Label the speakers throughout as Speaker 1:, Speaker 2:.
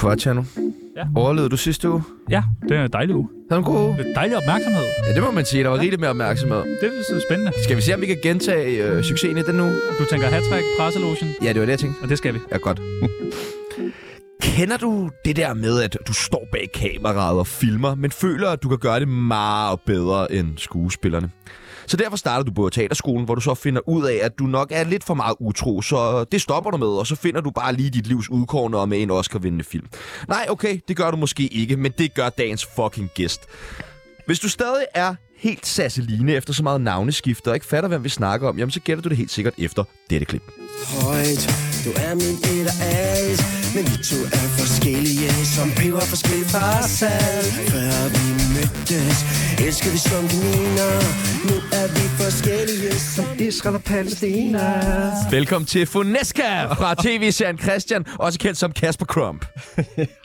Speaker 1: Quatchano.
Speaker 2: Ja.
Speaker 1: Overlevede du sidste uge?
Speaker 2: Ja, det er en dejlig uge.
Speaker 1: Havde du en god uge?
Speaker 2: Lidt dejlig opmærksomhed.
Speaker 1: Ja, det må man sige. Der var rigeligt med opmærksomhed.
Speaker 2: Det er så spændende.
Speaker 1: Skal vi se, om vi kan gentage øh, succesen i den uge?
Speaker 2: Du tænker hat-trick, presselotion,
Speaker 1: Ja, det var det, jeg tænkte.
Speaker 2: og det skal vi.
Speaker 1: Ja, godt. Kender du det der med, at du står bag kameraet og filmer, men føler, at du kan gøre det meget bedre end skuespillerne? Så derfor starter du på teaterskolen, hvor du så finder ud af, at du nok er lidt for meget utro, så det stopper du med, og så finder du bare lige dit livs udkårne og med en Oscar-vindende film. Nej, okay, det gør du måske ikke, men det gør dagens fucking gæst. Hvis du stadig er helt sasseline efter så meget navneskifte og ikke fatter, hvem vi snakker om, jamen så gætter du det helt sikkert efter dette klip.
Speaker 3: højt Du er min etter alt Men vi to er forskellige Som peber forskellige fra salt Før vi mødtes Elskede vi som kaniner Nu er vi forskellige Som Israel og Palæstina
Speaker 1: Velkommen til Funeska fra tv-serien Christian, også kendt som Kasper Crump.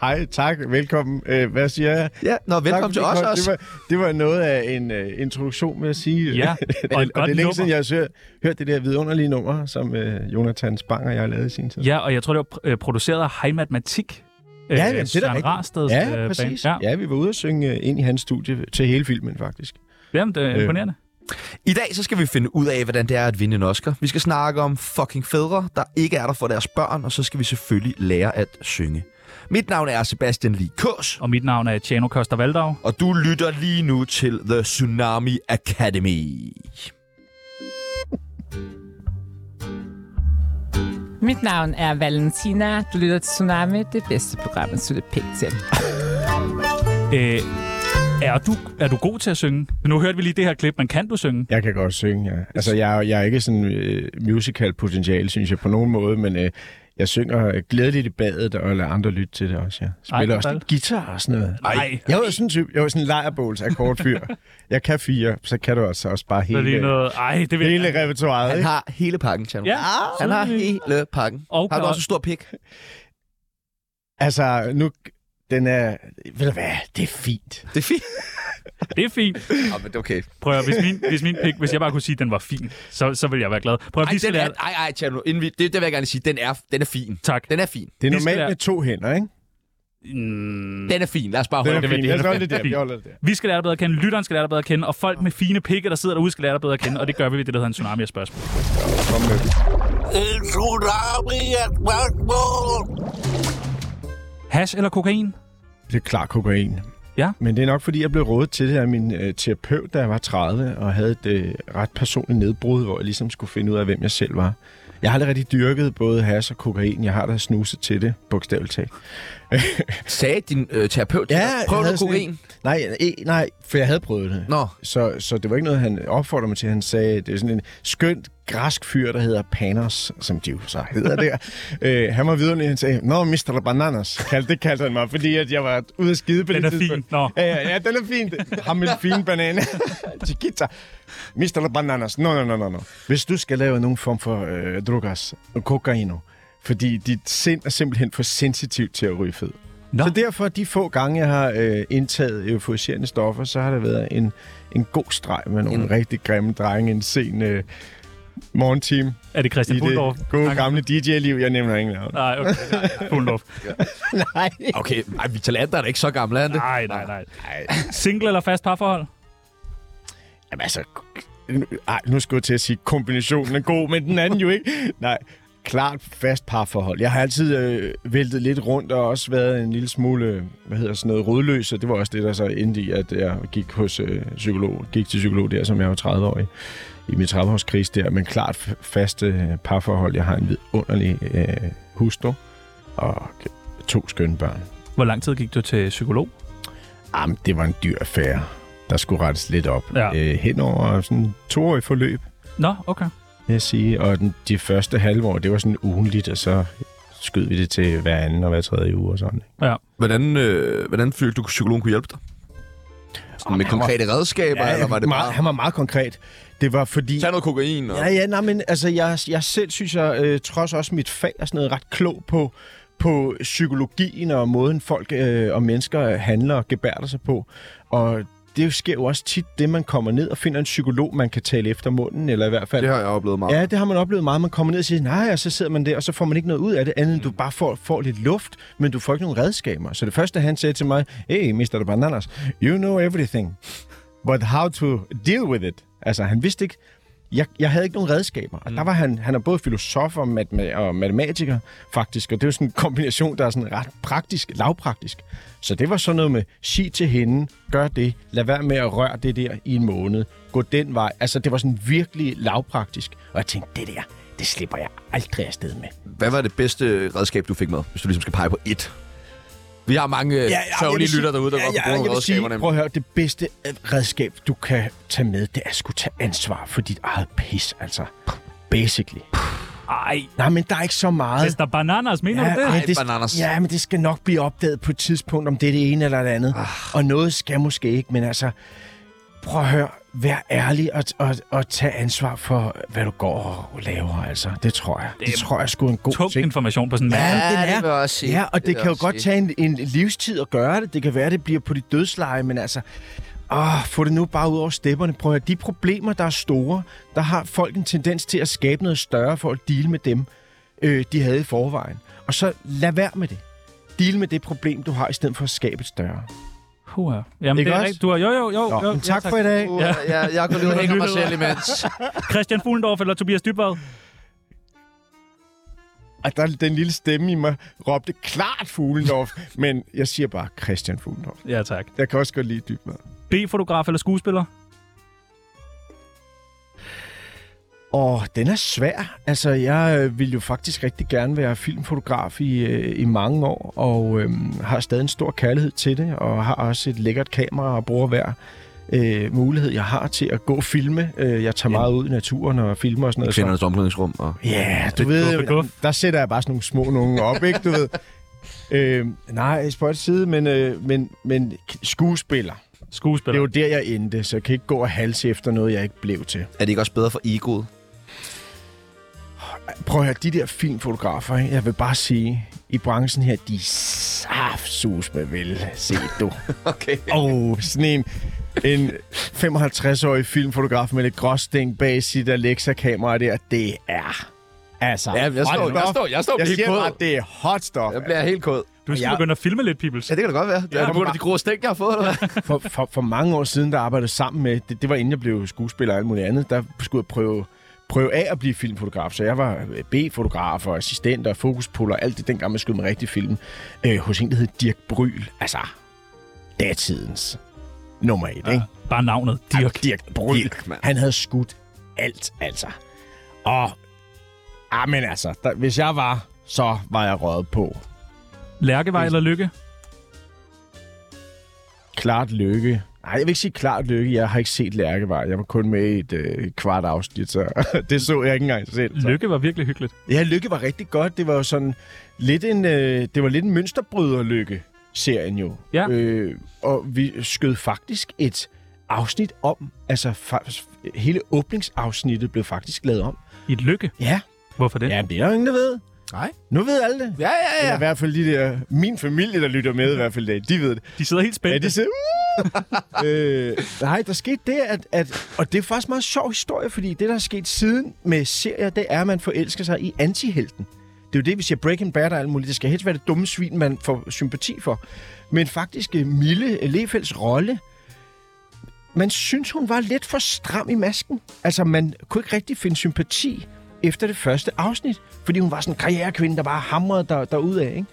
Speaker 4: Hej, tak, velkommen. Øh, hvad siger jeg?
Speaker 1: Ja, nå, velkommen til os
Speaker 4: det,
Speaker 1: også.
Speaker 4: Det var, det var noget af en uh, introduktion, med at sige.
Speaker 2: Ja, og et
Speaker 4: og, og
Speaker 2: godt
Speaker 4: det er længe siden,
Speaker 2: nummer.
Speaker 4: jeg har hørt, hørt det der vidunderlige nummer, som uh, Jonathan Spang og jeg lavede i sin tid.
Speaker 2: Ja, og jeg tror, det var pr- øh, produceret af High Matematik. øh,
Speaker 4: jamen, det er da
Speaker 2: Søren
Speaker 4: rigtigt.
Speaker 2: Rasteds, øh,
Speaker 4: ja
Speaker 2: band.
Speaker 4: præcis.
Speaker 2: Ja.
Speaker 4: Ja. ja, vi var ude og synge øh, ind i hans studie til hele filmen, faktisk.
Speaker 2: Jamen, det er
Speaker 4: Øh.
Speaker 2: imponerende.
Speaker 1: I dag så skal vi finde ud af, hvordan det er at vinde en Oscar. Vi skal snakke om fucking fædre, der ikke er der for deres børn, og så skal vi selvfølgelig lære at synge. Mit navn er Sebastian Lee Kås,
Speaker 2: Og mit navn er Tjano Koster Valdau.
Speaker 1: og du lytter lige nu til The Tsunami Academy.
Speaker 5: Mit navn er Valentina. Du lytter til Tsunami, det bedste program, at slutte pænt til.
Speaker 2: Øh, er, du, er du god til at synge? Nu hørte vi lige det her klip, men kan du synge?
Speaker 4: Jeg kan godt synge, ja. Altså, jeg, er- jeg er ikke sådan uh, musical-potentiale, synes jeg, på nogen måde, men uh, jeg synger glædeligt i badet og lader andre lytte til det også, ja. Spiller
Speaker 2: hvor
Speaker 4: Ej, også
Speaker 2: dejligt.
Speaker 4: lidt guitar og sådan noget.
Speaker 2: Nej.
Speaker 4: Jeg var sådan en type, jeg var sådan en lejrbåls akkordfyr. jeg kan fire, så kan du altså også bare
Speaker 2: Det er
Speaker 4: hele,
Speaker 2: lige noget... Ej, det vil jeg
Speaker 4: hele repertoireet.
Speaker 1: Han
Speaker 4: Ikke?
Speaker 1: har hele pakken, Tjerno.
Speaker 2: Ja,
Speaker 4: Ah,
Speaker 2: Oh,
Speaker 1: Han har
Speaker 2: selvfølgelig.
Speaker 1: hele pakken.
Speaker 2: Og
Speaker 1: Har du
Speaker 2: kan-
Speaker 1: også en stor pik?
Speaker 4: Altså, nu, den er, ved du hvad, det er fint.
Speaker 1: Det er fint.
Speaker 2: Det er fint.
Speaker 1: Ja, men okay.
Speaker 2: Prøv at, hvis min, hvis min pik, hvis jeg bare kunne sige, at den var fin, så, så ville jeg være glad. Prøv at,
Speaker 1: Ej,
Speaker 2: vi skal
Speaker 1: den er,
Speaker 2: lære...
Speaker 1: ej, ej, Tjerno, inden vi, det, det vil jeg gerne sige. Den er, den er fin.
Speaker 2: Tak.
Speaker 1: Den er fin.
Speaker 4: Det er
Speaker 2: Vi skal
Speaker 4: normalt
Speaker 2: lade-
Speaker 4: med to hænder, ikke?
Speaker 2: Mm.
Speaker 1: Den er fin. Lad os bare holde
Speaker 4: Den er
Speaker 1: det
Speaker 4: fint. Lad os holde
Speaker 1: det.
Speaker 4: det der.
Speaker 2: fint.
Speaker 4: Vi holder det der.
Speaker 2: Vi skal lære dig bedre at kende, lytteren skal lære dig bedre at kende, og folk med fine pikke, der sidder derude, skal lære dig bedre at kende, og det gør vi ved det, der hedder en tsunami af spørgsmål.
Speaker 3: En tsunami er et spørgsmål
Speaker 2: Hash eller kokain?
Speaker 4: Det er klart kokain.
Speaker 2: Ja.
Speaker 4: Men det er nok, fordi jeg blev rådet til det af min øh, terapeut, da jeg var 30, og havde et øh, ret personligt nedbrud, hvor jeg ligesom skulle finde ud af, hvem jeg selv var. Jeg har allerede dyrket både hash og kokain. Jeg har da snuset til det, bogstaveligt talt.
Speaker 1: Sagde din øh, terapeut til
Speaker 4: Ja,
Speaker 1: dig,
Speaker 4: jeg
Speaker 1: prøv
Speaker 4: havde
Speaker 1: noget
Speaker 4: sådan
Speaker 1: kokain.
Speaker 4: Nej, eh, nej, for jeg havde prøvet det.
Speaker 1: Nå,
Speaker 4: Så, så det var ikke noget, han opfordrede mig til. Han sagde, det er sådan en skønt græsk fyr, der hedder Panos, som de jo så hedder der. øh, han var vidunderlig, han sagde, Nå, Mr. Bananas, kaldte, det kaldte han mig, fordi at jeg var ude at skide på
Speaker 2: Den
Speaker 4: det
Speaker 2: er fin.
Speaker 4: tidspunkt.
Speaker 2: Nå.
Speaker 4: Ja, ja, ja, den er fin. Ham med den fine banan. Chiquita. Mr. Bananas. No, no, no, no, no. Hvis du skal lave nogen form for øh, drugas, kokaino, fordi dit sind er simpelthen for sensitivt til at ryge fed.
Speaker 2: Nå.
Speaker 4: Så derfor, de få gange, jeg har øh, indtaget euforiserende stoffer, så har der været en, en god streg med nogle
Speaker 1: En-
Speaker 4: en. rigtig grimme drenge en sen øh, morgentime
Speaker 2: Er det
Speaker 4: i
Speaker 2: Christian Bundorf?
Speaker 4: det gode gamle DJ-liv. Jeg nævner ingen navn.
Speaker 2: Nej, okay. nej, nej, Bundorf.
Speaker 4: Nej.
Speaker 1: okay. Ej, Victor Lander er da ikke så gammel, er han det?
Speaker 2: Nej, nej, nej. Single eller fast parforhold?
Speaker 4: Jamen altså, nu- ej, nu skulle jeg til at sige, at kombinationen er god, men den anden jo ikke. Nej, klart fast parforhold. Jeg har altid øh, væltet lidt rundt og også været en lille smule, hvad hedder sådan noget, rodløs, og det var også det, der så endte i, at jeg gik, hos, øh, psykolog, gik til psykolog der, som jeg var 30 år i, i min 30-årskris der, men klart f- fast øh, parforhold. Jeg har en vidunderlig øh, hustru og to skønne børn.
Speaker 2: Hvor lang tid gik du til psykolog?
Speaker 4: Jamen, det var en dyr affære. Der skulle rettes lidt op.
Speaker 2: Ja.
Speaker 4: Øh, hen over sådan toårig forløb,
Speaker 2: Nå, okay.
Speaker 4: vil jeg sige. Og den, de første halve år, det var sådan ugenligt, og så skød vi det til hver anden og hver tredje uge og sådan. ikke?
Speaker 1: Hvordan, øh, hvordan følte du, at psykologen kunne hjælpe dig? Sådan med konkrete redskaber, ja, eller var det
Speaker 4: meget,
Speaker 1: bare...
Speaker 4: han var meget konkret. Det var fordi...
Speaker 1: Tag noget kokain og...
Speaker 4: Ja, ja, nej, men altså, jeg, jeg selv synes, jeg øh, trods også mit fag er sådan noget ret klog på, på psykologien og måden folk øh, og mennesker handler og gebærder sig på. Og det sker jo også tit, det man kommer ned og finder en psykolog, man kan tale efter munden, eller i hvert fald...
Speaker 1: Det har jeg oplevet meget.
Speaker 4: Ja, det har man oplevet meget. Man kommer ned og siger, nej, og så sidder man der, og så får man ikke noget ud af det, andet end du bare får, får lidt luft, men du får ikke nogen redskaber. Så det første, han sagde til mig, hey, Mr. Bananas, you know everything, but how to deal with it. Altså, han vidste ikke, jeg, jeg havde ikke nogen redskaber. Og der var han, han er både filosof og, matema- og matematiker, faktisk. Og det er jo sådan en kombination, der er sådan ret praktisk, lavpraktisk. Så det var sådan noget med, sig til hende, gør det, lad være med at røre det der i en måned, gå den vej. Altså, det var sådan virkelig lavpraktisk. Og jeg tænkte, det der, det slipper jeg aldrig afsted med.
Speaker 1: Hvad var det bedste redskab, du fik med, hvis du ligesom skal pege på ét? Vi har mange ja, ja, sørgelige Øh, lytter derude, der ja, godt kan bruge
Speaker 4: jeg
Speaker 1: nogle
Speaker 4: vil sige,
Speaker 1: redskaber. nemlig.
Speaker 4: Prøv at høre, det bedste øh, redskab, du kan tage med, det er at skulle tage ansvar for dit eget pis, altså. Basically.
Speaker 2: Ej,
Speaker 4: Nej, men der er ikke så meget.
Speaker 2: Mr. Bananas, mener du det?
Speaker 1: ej.
Speaker 4: men det,
Speaker 1: Bananas.
Speaker 4: ja, men det skal nok blive opdaget på et tidspunkt, om det er det ene eller det andet.
Speaker 1: Ah.
Speaker 4: Og noget skal måske ikke, men altså, prøv at høre, vær ærlig og, og, og tag ansvar for, hvad du går og laver, altså. Det tror jeg. Det, det tror jeg sgu er en god
Speaker 2: Tung
Speaker 4: ting.
Speaker 2: information på sådan en
Speaker 4: Ja,
Speaker 2: mand.
Speaker 4: den er.
Speaker 1: det vil jeg også sige.
Speaker 4: Ja, og
Speaker 1: Det
Speaker 4: det,
Speaker 1: vil
Speaker 4: det
Speaker 1: jeg
Speaker 4: kan jo
Speaker 1: også
Speaker 4: godt
Speaker 1: sige.
Speaker 4: tage en, en livstid at gøre det. Det kan være, det bliver på dit dødsleje, men altså... Åh, få det nu bare ud over stepperne. Prøv at høre, de problemer, der er store, der har folk en tendens til at skabe noget større for at dele med dem, øh, de havde i forvejen. Og så lad være med det. Deal med det problem, du har, i stedet for at skabe et større.
Speaker 2: Puh, ja. Jamen,
Speaker 4: Ikke
Speaker 2: det er
Speaker 4: også?
Speaker 2: rigtigt. Du har, jo, jo, jo.
Speaker 4: Nå,
Speaker 2: jo
Speaker 4: men tak, tak for i dag.
Speaker 1: Uh, ja. jeg, jeg går ned og hænger mig selv imens.
Speaker 2: Christian Fuglendorf eller Tobias Dybvad?
Speaker 4: Og der den lille stemme i mig råbte klart Fuglendorf, men jeg siger bare Christian Fuglendorf.
Speaker 2: Ja, tak.
Speaker 4: Jeg kan også godt lide dybt med.
Speaker 2: B-fotograf eller skuespiller?
Speaker 4: Og den er svær. Altså, jeg øh, ville jo faktisk rigtig gerne være filmfotograf i, øh, i mange år, og øh, har stadig en stor kærlighed til det, og har også et lækkert kamera og bruger hver øh, mulighed, jeg har til at gå og filme. Øh, jeg tager meget ud i naturen og filmer og sådan noget.
Speaker 1: Jeg kender hans omklædningsrum. Og...
Speaker 4: Ja, du ved,
Speaker 2: guf og guf.
Speaker 4: der sætter jeg bare sådan nogle små nogen op, ikke? Du ved. Øh, nej, spøjt side, men, øh, men, men skuespiller. Det er
Speaker 2: Skuespiller.
Speaker 4: jo der, jeg endte, så jeg kan ikke gå og halse efter noget, jeg ikke blev til.
Speaker 1: Er det ikke også bedre for egoet?
Speaker 4: Prøv at høre, de der filmfotografer, ikke? jeg vil bare sige, i branchen her, de er saftsus med vel, se du.
Speaker 1: Okay.
Speaker 4: Og sådan en, en 55-årig filmfotograf med lidt gråsting bag sit Alexa-kamera der, det er... Altså,
Speaker 1: Ja, jeg står-
Speaker 4: hot
Speaker 1: jeg
Speaker 4: stuff.
Speaker 1: står- jeg står
Speaker 4: jeg
Speaker 1: helt
Speaker 4: siger
Speaker 1: våd.
Speaker 4: bare, det er hot stuff.
Speaker 1: Jeg bliver helt kod.
Speaker 2: Du skal
Speaker 4: Ja.
Speaker 2: begynde at filme lidt, peoples.
Speaker 1: Ja, det kan da godt være. Det er
Speaker 2: Ja,
Speaker 1: på grund af de grå stænk, jeg har fået, eller hvad?
Speaker 4: for, for, for mange år siden, der arbejdede jeg sammen med, det, det var inden jeg blev skuespiller og alt muligt andet, der skulle jeg prøve, prøve af at blive filmfotograf. Så jeg var øh, B-fotograf og assistent og fokuspuller og alt det, dengang man skød med rigtig film, øh, hos en, der hed Dirk Bryl. Altså, datidens nummer et, ja. ikke? Altså,
Speaker 2: Bare navnet. Dirk.
Speaker 4: Dirk Bryl.
Speaker 1: Dirk,
Speaker 4: Dirk,
Speaker 1: mand.
Speaker 4: han havde skudt alt, altså. Og, ah, men altså, der, hvis jeg var, så var jeg røget på.
Speaker 2: Lærkevej eller Lykke?
Speaker 4: Klart lykke. Nej, jeg vil ikke sige klart lykke. Jeg har ikke set Lærkevej. Jeg var kun med i et øh, kvart afsnit, så det så jeg ikke engang selv. Så.
Speaker 2: Lykke var virkelig hyggeligt.
Speaker 4: Ja, lykke var rigtig godt. Det var jo sådan lidt en, øh, det var lidt en mønsterbryderlykke, serien jo.
Speaker 2: Ja.
Speaker 4: Øh, og vi skød faktisk et afsnit om. Altså, fa- hele åbningsafsnittet blev faktisk lavet om.
Speaker 2: I et lykke.
Speaker 4: Ja.
Speaker 2: Hvorfor det?
Speaker 4: Ja, det er der jo ingen, der ved.
Speaker 1: Nej.
Speaker 4: Nu ved alle det.
Speaker 1: Ja, ja,
Speaker 4: Eller i hvert fald de der, min familie, der lytter med i hvert fald, de ved det.
Speaker 2: De sidder helt
Speaker 4: Ja,
Speaker 2: spændte.
Speaker 4: det ser... øh, nej, der skete det, at, at... Og det er faktisk en meget sjov historie, fordi det, der er sket siden med serier, det er, at man forelsker sig i antihelten. Det er jo det, vi siger Breaking Bad og alt muligt. Det skal helst være det dumme svin, man får sympati for. Men faktisk øh, Mille Lefelds rolle, man synes, hun var lidt for stram i masken. Altså, man kunne ikke rigtig finde sympati efter det første afsnit, fordi hun var sådan en karrierekvinde, der bare hamrede der, derudad, ikke?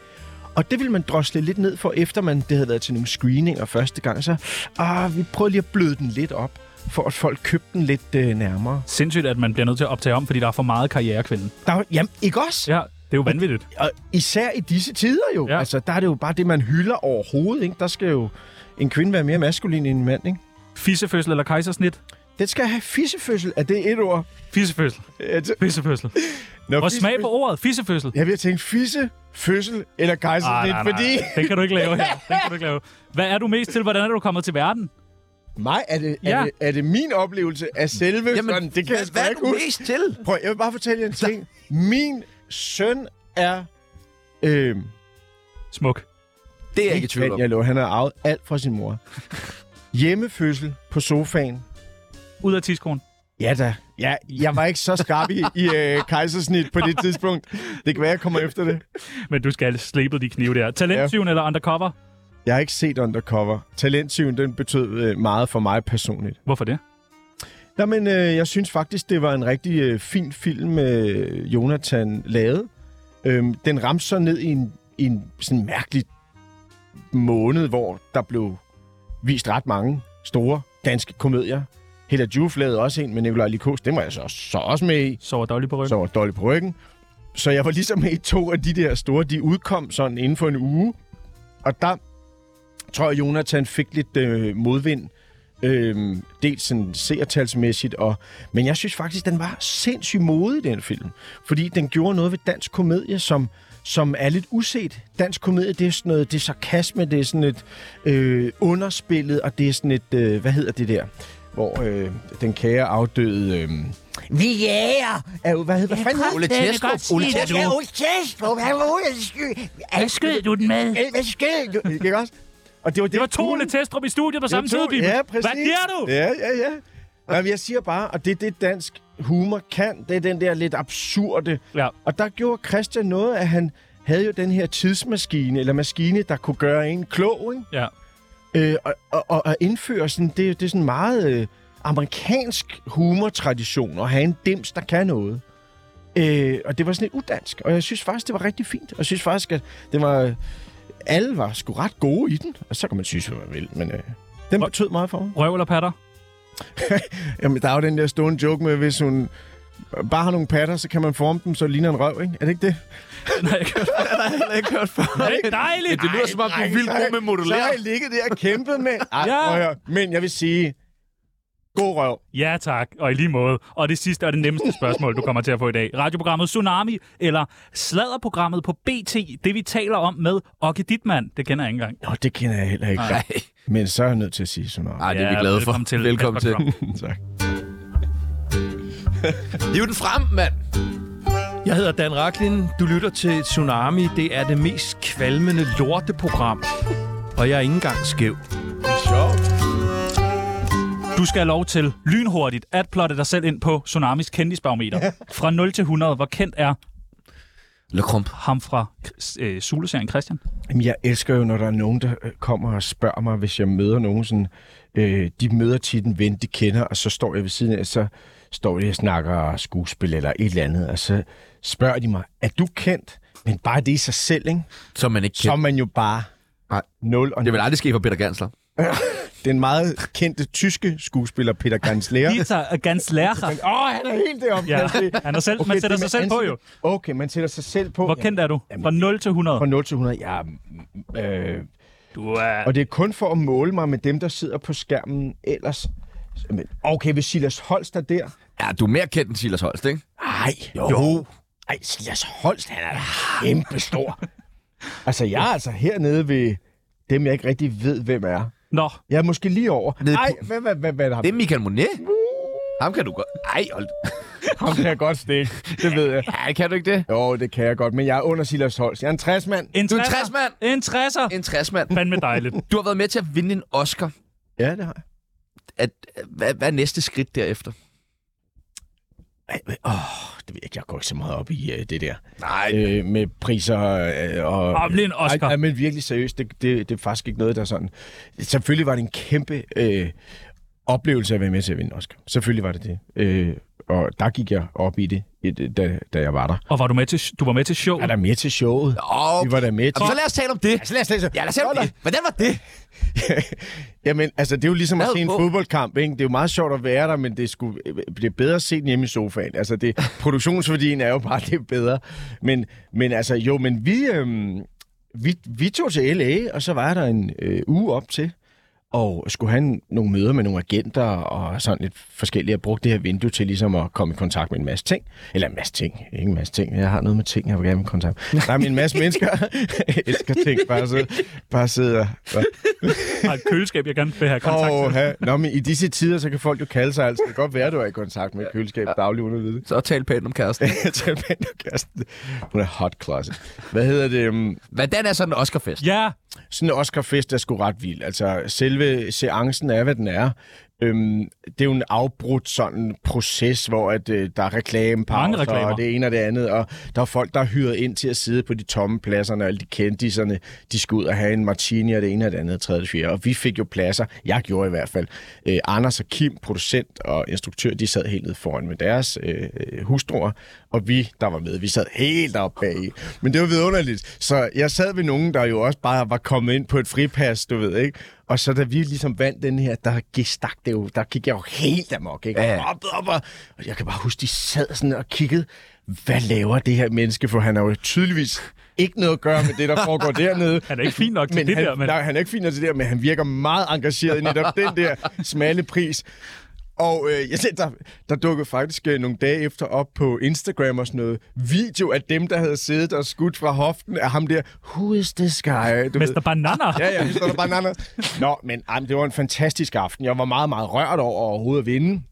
Speaker 4: Og det ville man drosle lidt ned for, efter man det havde været til nogle screeninger første gang. Så ah, vi prøvede lige at bløde den lidt op, for at folk købte den lidt øh, nærmere.
Speaker 2: Sindssygt, at man bliver nødt til at optage om, fordi der er for meget karrierekvinde.
Speaker 4: Der, var- jamen, ikke også? Ja.
Speaker 2: Ja, det er jo vanvittigt.
Speaker 4: Og især i disse tider jo.
Speaker 2: Ja.
Speaker 4: Ja. Altså, der er det jo bare det, man hylder overhovedet. Ikke? Der skal jo en kvinde være mere maskulin end en mand. Ikke?
Speaker 2: Fissefødsel eller kejsersnit?
Speaker 4: Den skal have fissefødsel. Er det et ord?
Speaker 2: Fissefødsel.
Speaker 4: Ja, t-
Speaker 2: Fissefødsel.
Speaker 4: Nå,
Speaker 2: Og smag på ordet. Fissefødsel. Ah,
Speaker 4: Jeg vil tænke fisse, fødsel eller kejsersnit, fordi...
Speaker 2: Den kan du ikke lave her. Den kan du ikke lave. Hvad er du mest til? Hvordan er du kommet til verden?
Speaker 4: Mig, er det,
Speaker 2: Ja.
Speaker 4: er, det, er det min oplevelse af selve Jamen, sådan? Det kan jeg sgu
Speaker 1: hvad er
Speaker 4: ikke
Speaker 1: du
Speaker 4: huske.
Speaker 1: mest til?
Speaker 4: Prøv, jeg vil bare fortælle jer en ting. Min søn er... Øh,
Speaker 2: Smuk.
Speaker 1: Det er jeg ikke i tvivl om.
Speaker 4: jeg lov, han har arvet alt fra sin mor. Hjemmefødsel på sofaen.
Speaker 2: Ud af tidskronen.
Speaker 4: Ja da. Ja, jeg var ikke så skarp i, i øh, kejsersnit på det tidspunkt. Det kan være, jeg kommer efter det.
Speaker 2: Men du skal have slebet de knive der. Talentsyven ja. eller undercover?
Speaker 4: Jeg har ikke set Undercover. Talentsyven, den betød øh, meget for mig personligt.
Speaker 2: Hvorfor det?
Speaker 4: Nå, men øh, jeg synes faktisk, det var en rigtig øh, fin film, øh, Jonathan lavede. Øhm, den ramte så ned i en, i en sådan mærkelig måned, hvor der blev vist ret mange store danske komedier. Hella Juf lavede også en med Nikolaj Likos. Den var jeg så, så også med i.
Speaker 2: Sover dårligt på ryggen.
Speaker 4: Så var dårlig på ryggen. Så jeg var ligesom med i to af de der store. De udkom sådan inden for en uge. Og der tror jeg, Jonathan fik lidt øh, modvind. Øh, dels sådan seertalsmæssigt. Og, men jeg synes faktisk, den var sindssygt modig, den film. Fordi den gjorde noget ved dansk komedie, som som er lidt uset. Dansk komedie, det er sådan noget, det er sarkasme, det er sådan et øh, underspillet, og det er sådan et, øh, hvad hedder det der, hvor øh, den kære afdøde... Øh, vi jæger! Er jo, hvad hedder hvad fanden?
Speaker 1: Ole Testrup. Ole Testrup.
Speaker 3: Ja, Ole Testrup, han var ude at skyde.
Speaker 5: Hvad skød du den med?
Speaker 3: Al- Hvad skete der?
Speaker 4: Ikke også? Og det var,
Speaker 2: Det var to Ole Testrup i studiet på samme tid, Bibel.
Speaker 4: Ja, præcis.
Speaker 2: Hvad er du?
Speaker 4: Ja, ja, ja. Jamen, jeg siger bare, og det er det, dansk humor kan. Det er den der lidt absurde.
Speaker 2: Ja.
Speaker 4: Og der gjorde Christian noget, at han havde jo den her tidsmaskine, eller maskine, der kunne gøre en klog, ikke?
Speaker 2: ja.
Speaker 4: Øh, og, og- og, og indføre sådan, det, det er sådan meget øh, amerikansk humortradition at have en dims, der kan noget. Øh, og det var sådan lidt udansk, og jeg synes faktisk, det var rigtig fint. Og jeg synes faktisk, at det var, alle var sgu ret gode i den. Og så kan man synes, hvad man vil, men øh, den betød meget for mig.
Speaker 2: Røv eller patter?
Speaker 4: Jamen, der er jo den der stående joke med, hvis hun bare har nogle patter, så kan man forme dem, så det ligner en røv, ikke? Er det ikke det?
Speaker 2: Nej, jeg kan-
Speaker 1: har ikke hørt før.
Speaker 2: er det ikke dejligt?
Speaker 1: Det lyder som om, du er vildt god med
Speaker 4: Så har
Speaker 1: modellering.
Speaker 4: jeg ligget der og kæmpet med. Ej,
Speaker 2: Ja.
Speaker 4: prøv at høre. Men jeg vil sige, god røv.
Speaker 2: Ja tak, og i lige måde. Og det sidste og det nemmeste spørgsmål, du kommer til at få i dag. Radioprogrammet Tsunami, eller sladderprogrammet på BT, det vi taler om med Okke Ditman. Det kender jeg ikke engang.
Speaker 4: Nå, det kender jeg heller ikke.
Speaker 1: Nej.
Speaker 4: Men så er jeg nødt til at sige sådan noget.
Speaker 1: Nej, det er vi
Speaker 2: Ja,
Speaker 1: glade for.
Speaker 2: velkommen til.
Speaker 1: Velkommen til.
Speaker 2: Velkommen
Speaker 4: tak.
Speaker 1: Hiv den frem, mand.
Speaker 6: Jeg hedder Dan Raklin. Du lytter til Tsunami. Det er det mest kvalmende lorteprogram. Og jeg er ikke engang skæv.
Speaker 2: Du skal have lov til lynhurtigt at plotte dig selv ind på Tsunamis kendisbarometer. Fra 0 til 100, hvor kendt er
Speaker 1: Le Crump.
Speaker 2: ham fra øh, Zulu-serien Christian?
Speaker 4: Jamen, jeg elsker jo, når der er nogen, der øh, kommer og spørger mig, hvis jeg møder nogen sådan... Øh, de møder tit en ven, de kender, og så står jeg ved siden af, så står jeg og snakker skuespil eller et eller andet, og så spørger de mig, er du kendt? Men bare det i sig selv, ikke?
Speaker 1: Som man ikke
Speaker 4: Så er
Speaker 1: kender.
Speaker 4: man jo bare...
Speaker 1: Nej.
Speaker 4: Nul og
Speaker 1: Det vil aldrig ske for Peter Gansler.
Speaker 4: Den meget kendte tyske skuespiller Peter Gansler.
Speaker 2: Dieter Ganslærer.
Speaker 4: Åh, oh, han er helt deroppe.
Speaker 2: Ja,
Speaker 4: kan jeg se.
Speaker 2: han er selv, okay, man
Speaker 4: det
Speaker 2: sætter
Speaker 4: med
Speaker 2: sig selv på jo.
Speaker 4: ansigt- Okay, man sætter sig selv på.
Speaker 2: Hvor
Speaker 4: Ja.
Speaker 2: kendt er du?
Speaker 4: Jamen,
Speaker 2: Fra 0 til 100.
Speaker 4: Fra 0 til 100, ja. mm, Øh,
Speaker 2: Du er...
Speaker 4: og det er kun for at måle mig med dem, der sidder på skærmen ellers. Men, okay, hvis Silas Holst er der.
Speaker 1: Ja, du er mere kendt end Silas Holst, ikke?
Speaker 4: Ej, jo. Ah. jo. Ej, Silas Holst, han er da kæmpestor. altså, jeg er altså hernede ved dem, jeg ikke rigtig ved, hvem er.
Speaker 2: Nå,
Speaker 4: Jeg er måske lige over.
Speaker 1: Nede
Speaker 4: Nej,
Speaker 1: på-
Speaker 4: hvad, hvad, hvad, hvad har
Speaker 1: Det er Michael Monet. Ham kan du godt... Ej, hold...
Speaker 4: Ham kan jeg godt stikke. Det ved jeg.
Speaker 1: Ja, kan du ikke det?
Speaker 4: Jo, det kan jeg godt, men jeg er under Silas Holst. Jeg er en 60-mand.
Speaker 2: en
Speaker 1: Du er en 60
Speaker 2: 60'er.
Speaker 1: mand.
Speaker 2: En 60'er.
Speaker 1: En 60 mand.
Speaker 2: Fandme dejligt.
Speaker 1: Du har været med til at vinde en Oscar.
Speaker 4: Ja, det har jeg.
Speaker 1: At, hvad, hvad er næste skridt derefter?
Speaker 4: Ej, men- Åh, det ved jeg ikke. Jeg går ikke så meget op i øh, det der.
Speaker 1: Nej.
Speaker 4: Øh, med priser øh, og...
Speaker 2: Og blev en Oscar.
Speaker 4: Ej, ej, men virkelig seriøst, det, det, det er faktisk ikke noget, der er sådan... Selvfølgelig var det en kæmpe øh, oplevelse at være med til at vinde en Oscar. Selvfølgelig var det det. Øh, og der gik jeg op i det, et, da, da jeg var der.
Speaker 2: Og var du med til, du var med til show?
Speaker 4: Er der mere til showet?
Speaker 1: Okay.
Speaker 4: Vi var der med til...
Speaker 1: Jamen, så lad os tale om det.
Speaker 4: så lad os tale så.
Speaker 1: Ja, lad os tale om det. Hvordan var det?
Speaker 4: Jamen, altså, det er jo ligesom at
Speaker 1: Hvad
Speaker 4: se en
Speaker 1: på?
Speaker 4: fodboldkamp, ikke? Det er jo meget sjovt at være der, men det, skulle, det er bedre set hjemme i sofaen. Altså, det, produktionsværdien er jo bare det er bedre. Men, men altså, jo, men vi, øhm, vi, vi tog til L.A., og så var der en øh, uge op til, og skulle have en- nogle møder med nogle agenter og sådan lidt forskellige. Jeg brugte det her vindue til ligesom at komme i kontakt med en masse ting. Eller en masse ting. Ikke en masse ting. Jeg har noget med ting, jeg vil gerne have kontakt med. Nej, men en masse mennesker. jeg elsker ting. Bare sidde, bare sidde og, og
Speaker 2: Har et køleskab, jeg gerne vil have kontakt til?
Speaker 4: Åh, ha. Nå, men i disse tider, så kan folk jo kalde sig altså. Det kan godt være, du er i kontakt med et køleskab dagligt uden at vide det.
Speaker 1: Så tal pænt om kæresten.
Speaker 4: Jeg tager med hende og kæresten. Hun er hot closet. Hvad hedder det? øhm,
Speaker 1: Hvordan er sådan en Oscarfest?
Speaker 2: Ja,
Speaker 4: sådan en Oscar-fest er sgu ret vild. Altså, selve seancen er, hvad den er. Øhm, det er jo en afbrudt sådan proces, hvor at, øh, der er
Speaker 2: Mange
Speaker 4: reklamepauser,
Speaker 2: reklamer.
Speaker 4: og det ene og det andet, og der er folk, der er hyret ind til at sidde på de tomme pladserne, og alle de kendiserne, de skal ud og have en martini, og det ene og det andet, og tredje og det fjerde. Og vi fik jo pladser, jeg gjorde i hvert fald. Øh, Anders og Kim, producent og instruktør, de sad helt nede foran med deres øh, øh, hustruer, og vi, der var med, vi sad helt oppe bag. Men det var vidunderligt. Så jeg sad ved nogen, der jo også bare var kommet ind på et fripas, du ved, ikke? Og så da vi ligesom vandt den her, der gik stak det jo, der gik jeg jo helt amok, ikke? Ja. Op, op, op. Og jeg kan bare huske, de sad sådan og kiggede, hvad laver det her menneske? For han har jo tydeligvis ikke noget at gøre med det, der foregår dernede.
Speaker 2: Han er ikke fin nok til
Speaker 4: men
Speaker 2: det
Speaker 4: han,
Speaker 2: der, men-
Speaker 4: Nej, han er ikke fin nok til det der, men han virker meget engageret i netop den der smalle pris. Og øh, jeg ser, der, der dukkede faktisk øh, nogle dage efter op på Instagram og sådan noget video af dem, der havde siddet og skudt fra hoften af ham der. Who is this guy? Du ved.
Speaker 2: Mester Banana.
Speaker 4: Ja, ja, så er der bare en anden. Nå, men ej, men det var en fantastisk aften. Jeg var meget, meget rørt over overhovedet at vinde.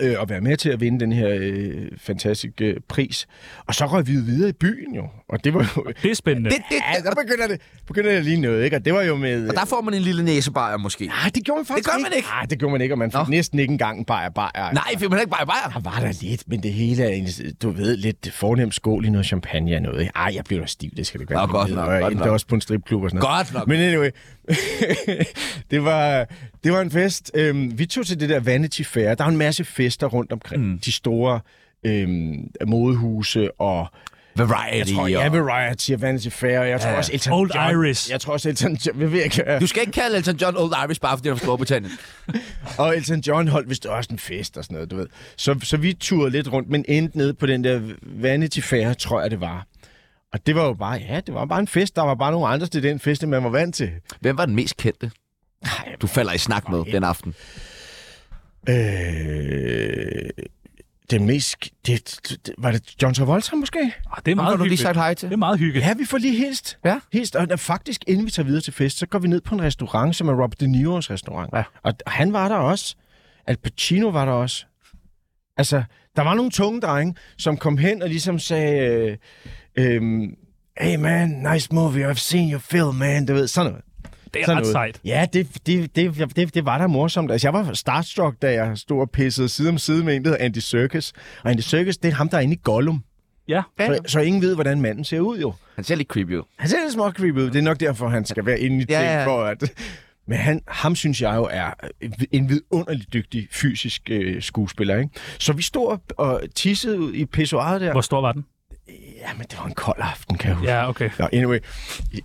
Speaker 4: Øh, at være med til at vinde den her øh, fantastiske øh, pris. Og så røg vi jo videre i byen jo. Og det var jo...
Speaker 2: Det er spændende.
Speaker 1: Det, det,
Speaker 4: Ja, der begynder det, begynder det lige noget, ikke? Og det var jo med...
Speaker 1: og der får man en lille næsebajer måske.
Speaker 4: Nej, det gjorde man faktisk
Speaker 1: Det gør man ikke.
Speaker 4: Nej, det gjorde man ikke, og man fik
Speaker 1: Nå.
Speaker 4: næsten ikke engang en bajer, bajer.
Speaker 1: Nej, fik man ikke bare bajer?
Speaker 4: Der var der lidt, men det hele er en, du ved, lidt fornemt skål i noget champagne og noget. ikke? Ej, jeg blev da stiv, det skal det ikke være.
Speaker 1: Nå, godt nok,
Speaker 4: Og jeg
Speaker 1: godt
Speaker 4: endte
Speaker 1: nok.
Speaker 4: også på en stripklub og sådan noget.
Speaker 1: Godt nok.
Speaker 4: Men anyway, det, var, det var en fest. Øhm, vi tog til det der Vanity Fair. Der er jo en masse fester rundt omkring. Mm. De store øhm, modehuse og... Jeg
Speaker 1: Variety.
Speaker 4: tror,
Speaker 1: og-
Speaker 4: ja, Variety og Vanity Fair. og Jeg tror også Elton
Speaker 2: Old
Speaker 4: John.
Speaker 2: Irish.
Speaker 4: Jeg tror også Elton John. Jeg ved ikke, øh,
Speaker 1: Du skal ikke kalde Elton John Old Irish, bare fordi han er fra Storbritannien.
Speaker 4: Og Elton John holdt vist også en fest og sådan noget, du ved. Så, så vi turede lidt rundt, men endte nede på den der Vanity Fair, tror jeg det var. Og det var jo bare, ja, det var bare en fest. Der var bare nogle andre til den fest, end man var vant til.
Speaker 1: Hvem var den mest kendte? Du falder i snak med den aften.
Speaker 4: Øh, den mest... Det, det, var det John Travolta måske?
Speaker 2: Ah, det er
Speaker 1: Har
Speaker 2: meget
Speaker 1: du lige
Speaker 2: hyggeligt.
Speaker 1: sagt hej til?
Speaker 2: Det er meget hyggeligt.
Speaker 4: Ja, vi får lige hilst.
Speaker 1: Ja.
Speaker 4: Hilst, og da faktisk, inden vi tager videre til fest, så går vi ned på en restaurant, som er Robert De Niro's restaurant. Ja. Og d- han var der også. Al Pacino var der også. Altså, der var nogle tunge drenge, som kom hen og ligesom sagde, øh, øh, hey man, nice movie, I've seen your film, man. Du ved, sådan noget.
Speaker 2: Det er
Speaker 4: Sådan
Speaker 2: ret
Speaker 4: noget.
Speaker 2: sejt.
Speaker 4: Ja, det, det, det, det, det var da morsomt. Altså, jeg var starstruck, da jeg stod og pissede side om side med en, der hedder Andy Serkis. Og Andy Serkis, det er ham, der er inde i Gollum.
Speaker 2: Ja.
Speaker 4: Så, så ingen ved, hvordan manden ser ud, jo.
Speaker 1: Han ser lidt creepy ud.
Speaker 4: Han ser lidt små creepy ud. Det er nok derfor, han skal være inde i
Speaker 1: Ja,
Speaker 4: ja,
Speaker 1: ja.
Speaker 4: ja. for at... Men han, ham synes jeg jo er en vidunderligt dygtig fysisk øh, skuespiller, ikke? Så vi stod og, og tissede ud i pissoiret der.
Speaker 2: Hvor stor var den?
Speaker 4: Jamen, det var en kold aften, kan jeg huske.
Speaker 2: Ja, okay.
Speaker 4: Nå, anyway.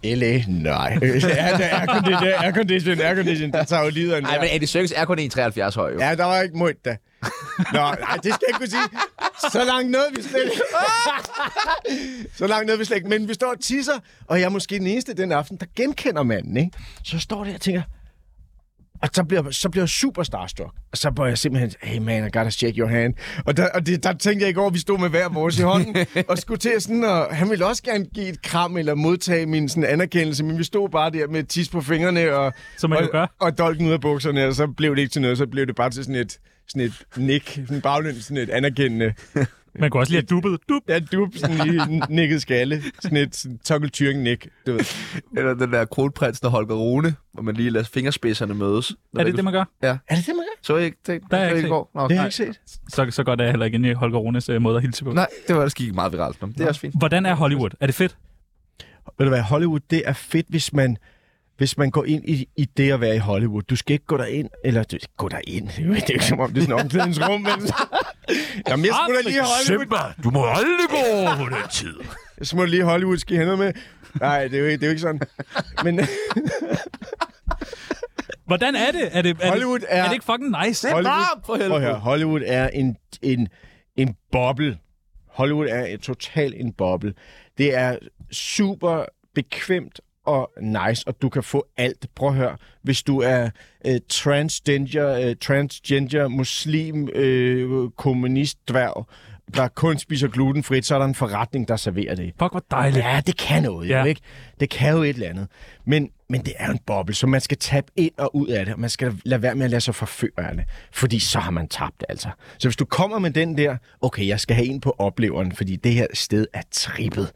Speaker 4: I L.A.? Nej. Øh, ja, der er aircondition, der er aircondition, aircondition. Der tager jo livet af en
Speaker 1: Nej, men Andy Serkis er kun 1,73 høj. Jo.
Speaker 4: Ja, der var ikke mødt da. Nå, nej, det skal jeg ikke kunne sige. Så langt nåede vi slet ikke. Så langt nåede vi slet ikke. Men vi står og tisser, og jeg er måske den eneste den aften, der genkender manden, ikke? Så jeg står der og tænker, og så bliver, så bliver jeg super starstruck. Og så bliver jeg simpelthen, hey man, I gotta shake your hand. Og der, og det, der tænkte jeg ikke over, at vi stod med hver vores i hånden, og skulle til at sådan, og han ville også gerne give et kram eller modtage min sådan, anerkendelse, men vi stod bare der med tis på fingrene og,
Speaker 2: Som man
Speaker 4: og,
Speaker 2: jo gør.
Speaker 4: og dolken ud af bukserne, og så blev det ikke til noget, så blev det bare til sådan et, sådan et nik, sådan baglæns, sådan et anerkendende,
Speaker 2: Man kunne også lige have dubbet. Dub.
Speaker 4: ja, du sådan lige nikket skalle, sådan et sådan, tokkeltyring-nik, du ved.
Speaker 1: Eller den der kronprinsen og Holger Rune, hvor man lige lader fingerspidserne mødes.
Speaker 2: Er det det, man gør?
Speaker 4: Er det det, man
Speaker 1: Så jeg ikke det,
Speaker 2: Der er ikke
Speaker 1: det
Speaker 2: set.
Speaker 1: i går? Nå,
Speaker 4: Det har
Speaker 1: nej.
Speaker 4: jeg ikke set.
Speaker 2: Så, så godt er jeg heller ikke inde i Holger Runes øh, måde at hilse på.
Speaker 1: Nej, det var det gik meget viralt. Nå, men det er også fint.
Speaker 2: Hvordan er Hollywood? Er det fedt?
Speaker 4: Ved du hvad, Hollywood, det er fedt, hvis man, hvis man går ind i, i det at være i Hollywood. Du skal ikke gå derind, eller du, gå derind. Det er jo ikke som om, det er sådan omklædningsrum. Men... Jamen, jeg smutter lige i Hollywood.
Speaker 6: du må aldrig gå over på den tid.
Speaker 4: Jeg smutter lige i Hollywood, skal I have noget med? Nej, det er jo ikke, det er jo ikke sådan. Men
Speaker 2: Hvordan er det? Er det, er
Speaker 4: Hollywood
Speaker 2: det,
Speaker 4: er-
Speaker 2: Er det ikke fucking nice?
Speaker 4: Hollywood,
Speaker 1: for
Speaker 4: prøv at høre, Hollywood er en, en, en boble. Hollywood er en, total en boble. Det er super bekvemt og nice, og du kan få alt. Prøv at høre, hvis du er øh, transgender, øh, transgender muslim, øh, kommunist, dværg, der kun spiser glutenfrit, så er der en forretning, der serverer det.
Speaker 2: Fuck, hvor dejligt.
Speaker 4: Ja, det kan noget,
Speaker 2: Ja.
Speaker 4: ja. ikke? Det kan jo et eller andet. Men, men det er jo en boble, så man skal tabe ind og ud af det, og man skal lade være med at lade sig forføre af det, fordi så har man tabt, altså. Så hvis du kommer med den der, okay, jeg skal have en på opleveren, fordi det her sted er trippet.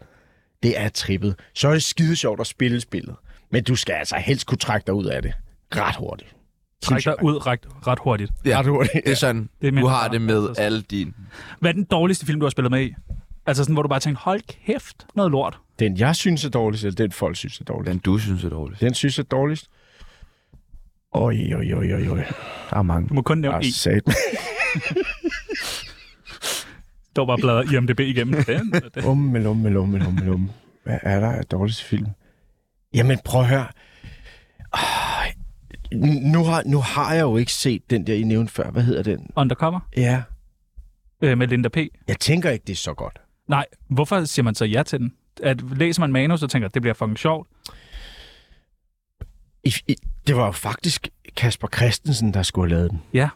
Speaker 4: Det er trippet. Så er det skide sjovt at spille spillet. Men du skal altså helst kunne trække dig ud af det ret hurtigt.
Speaker 2: Træk dig ud ret, ret hurtigt.
Speaker 1: Ja,
Speaker 4: Ret hurtigt.
Speaker 1: det er sådan,
Speaker 2: Det er
Speaker 1: du
Speaker 2: mindre
Speaker 1: har det med
Speaker 2: bare-
Speaker 1: alle dine.
Speaker 2: Hvad er den dårligste film, du har spillet med i? Altså sådan, hvor du bare tænkte, hold kæft, noget lort.
Speaker 4: Den, jeg synes er dårligst, eller den folk synes er dårligst.
Speaker 1: Den du synes er dårlig.
Speaker 4: Den synes er dårligst. Oj, oj, oj, oj, oj. Der er mange.
Speaker 2: Du må kun nævne
Speaker 4: Ah,
Speaker 2: en.
Speaker 4: satan.
Speaker 2: Der var bare bladret IMDB igennem. Den, og den.
Speaker 4: Ummel, ummel, ummel, ummel, ummel. um, Hvad er der af dårligste film? Jamen, prøv at høre. Ah, Nu har, nu har jeg jo ikke set den der, I nævnte før. Hvad hedder den?
Speaker 2: Undercover
Speaker 4: Ja.
Speaker 2: øh, med Linda P.
Speaker 4: Jeg tænker ikke, det er så godt.
Speaker 2: Nej, hvorfor siger man så ja til den? At læser man manus og tænker, det bliver fucking sjovt.
Speaker 4: I, i, det var jo faktisk Kasper Christensen, der skulle have lavet den.
Speaker 2: Ja,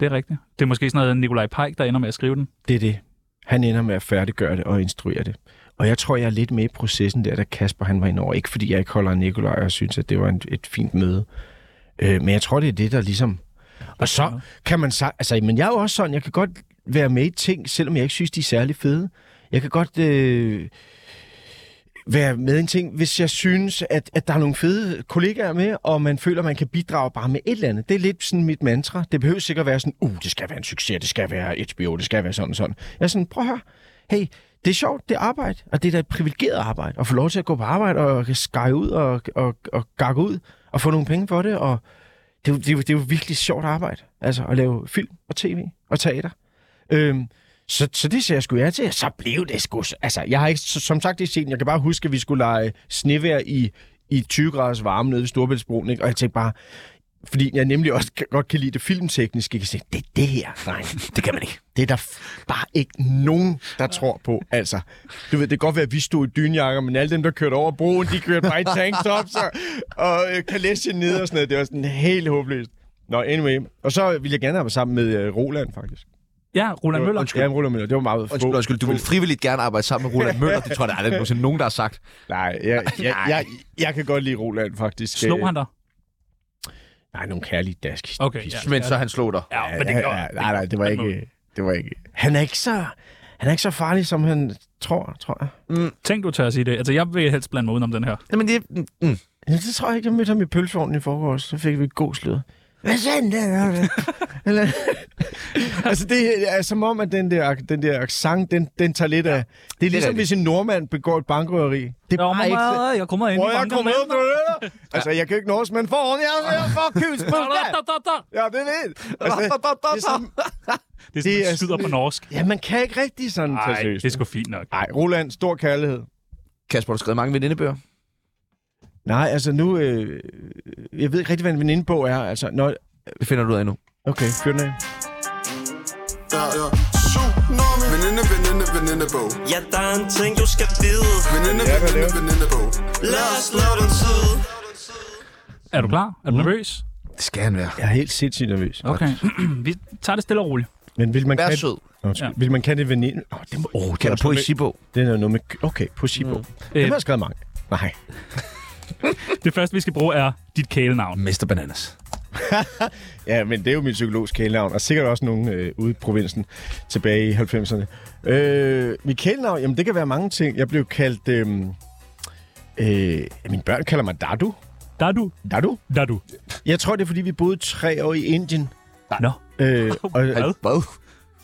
Speaker 2: det er rigtigt. Det er måske sådan noget Nikolaj Pike, der ender med at skrive den.
Speaker 4: Det er det. Han ender med at færdiggøre det og instruere det. Og jeg tror, jeg er lidt med i processen der, da Kasper han var inde over. Ikke fordi jeg ikke holder af Nikolaj og synes, at det var en, et fint møde. Øh, men jeg tror, det er det, der ligesom... Og så kan man så... Altså, men jeg er jo også sådan, jeg kan godt være med i ting, selvom jeg ikke synes, de er særlig fede. Jeg kan godt øh, være med i en ting, hvis jeg synes, at, at der er nogle fede kollegaer med, og man føler, man kan bidrage bare med et eller andet. Det er lidt sådan mit mantra. Det behøver sikkert at være sådan, uh, det skal være en succes, det skal være HBO, det skal være sådan og sådan. Jeg er sådan, prøv at høre, hey, det er sjovt, det er arbejde, og det er da et privilegeret arbejde, at få lov til at gå på arbejde og skære ud og, og, og gakke ud og få nogle penge for det, og det er, jo, det, er jo, det er jo virkelig sjovt arbejde, altså at lave film og tv og teater. Øhm, så, så det ser jeg sgu ja til, og så blev det sgu... s- Altså, jeg har ikke, så- som sagt i scenen, jeg kan bare huske, at vi skulle lege snevejr i, i 20 graders varme nede ved Storbæltsbroen, ikke? og jeg tænkte bare, fordi jeg nemlig også kan, godt kan lide det filmtekniske, jeg kan se, det er det her, nej, det kan man ikke. Det er der f- bare ikke nogen, der tror på, altså. Du ved, det kan godt være, at vi stod i dynjakker, men alle dem, der kørte over broen, de kørte bare i tanktops og, og øh, kalesje ned og sådan noget. Det var sådan helt håbløst. Nå, anyway. Og så ville jeg gerne have været sammen med øh, Roland, faktisk.
Speaker 2: Ja, Roland Møller.
Speaker 4: Ja, Roland Møller. Det var meget... få-
Speaker 1: Undskyld, undskyld, du vil frivilligt gerne arbejde sammen med Roland Møller. Det tror jeg, der aldrig nogensinde nogen, der har sagt.
Speaker 4: Nej, jeg, jeg, jeg, jeg kan godt lide Roland, faktisk. Øh,
Speaker 2: Slog han dig?
Speaker 4: Nej, nogle kærlige dask.
Speaker 2: Okay,
Speaker 4: Pis.
Speaker 2: ja.
Speaker 1: Men så han slog dig.
Speaker 2: Ja, men
Speaker 4: Ja,
Speaker 2: det gør
Speaker 4: ja, nej, nej, det var
Speaker 2: Han
Speaker 4: ikke... Det var ikke... Han er ikke så... Han er ikke så farlig, som han tror, tror jeg.
Speaker 2: Tænk, du tør at sige det. Altså, jeg vil helst blande mig udenom den her.
Speaker 1: Jamen, det, mm, mm.
Speaker 4: Ja, det tror jeg ikke. Jeg mødte ham i pølsevognen i forgårs, så fik vi et god slud. Hvad sagde den der? Eller... altså, det er som om, at den der, den der accent, den, den tager lidt af... Det er ligesom,
Speaker 1: rigtigt.
Speaker 4: hvis en nordmand begår et bankrøveri. Det er
Speaker 2: Nå,
Speaker 4: bare ikke...
Speaker 2: mad, jeg kommer ind.
Speaker 4: Prøv at komme med, du hører? Altså, jeg kan ikke nås, men foran jer, jeg får kys på det. Ja, det er det. Altså, det er sådan,
Speaker 2: Det er sådan,
Speaker 4: Det er
Speaker 2: man skyder på norsk.
Speaker 4: ja, man kan ikke rigtig sådan tage
Speaker 2: Nej,
Speaker 4: seriøst.
Speaker 2: det er sgu fint nok.
Speaker 4: Nej, Roland, stor kærlighed.
Speaker 1: Kasper, har du skrevet mange venindebøger?
Speaker 4: Nej, altså nu... Øh, jeg ved ikke rigtig, hvad en venindebog er. Altså, nå,
Speaker 1: Det finder du ud af nu.
Speaker 4: okay, fyr den af.
Speaker 7: Ja, ja. Tsunami. Veninde, veninde, venindebog.
Speaker 8: Ja, der er en ting, du skal vide.
Speaker 7: Veninde,
Speaker 4: hvad
Speaker 7: veninde,
Speaker 4: laver-
Speaker 7: venindebog.
Speaker 8: Lad os slå den tid.
Speaker 2: Er du klar? Er du
Speaker 4: Mm.
Speaker 2: nervøs?
Speaker 1: Det skal han være.
Speaker 4: Jeg er helt sindssygt nervøs.
Speaker 2: Okay. Vi tager det stille og roligt.
Speaker 4: Men vil man
Speaker 1: Vær
Speaker 4: kan...
Speaker 1: sød.
Speaker 4: Nå, ja.
Speaker 2: Ja.
Speaker 4: Vil man kan det veninde... Åh, oh, det må... Oh,
Speaker 1: Kan du poesibog?
Speaker 4: Det er noget med... Okay, poesibog. Mm. Det har jeg skrevet mange. Nej.
Speaker 2: Det første, vi skal bruge, er dit kælenavn.
Speaker 1: Mester Bananas.
Speaker 4: Ja, men det er jo min psykologs kælenavn, og sikkert også nogen øh, ude i provinsen tilbage i 90'erne. Øh, mit kælenavn, jamen det kan være mange ting. Jeg blev kaldt... Øh, øh, mine børn kalder mig Dadu.
Speaker 2: Der er du.
Speaker 4: Dadu?
Speaker 2: Der er du.
Speaker 4: Jeg tror, det er, fordi vi boede tre år i Indien.
Speaker 2: Nå.
Speaker 4: Øh, og,
Speaker 2: Hvad?
Speaker 1: Hvad?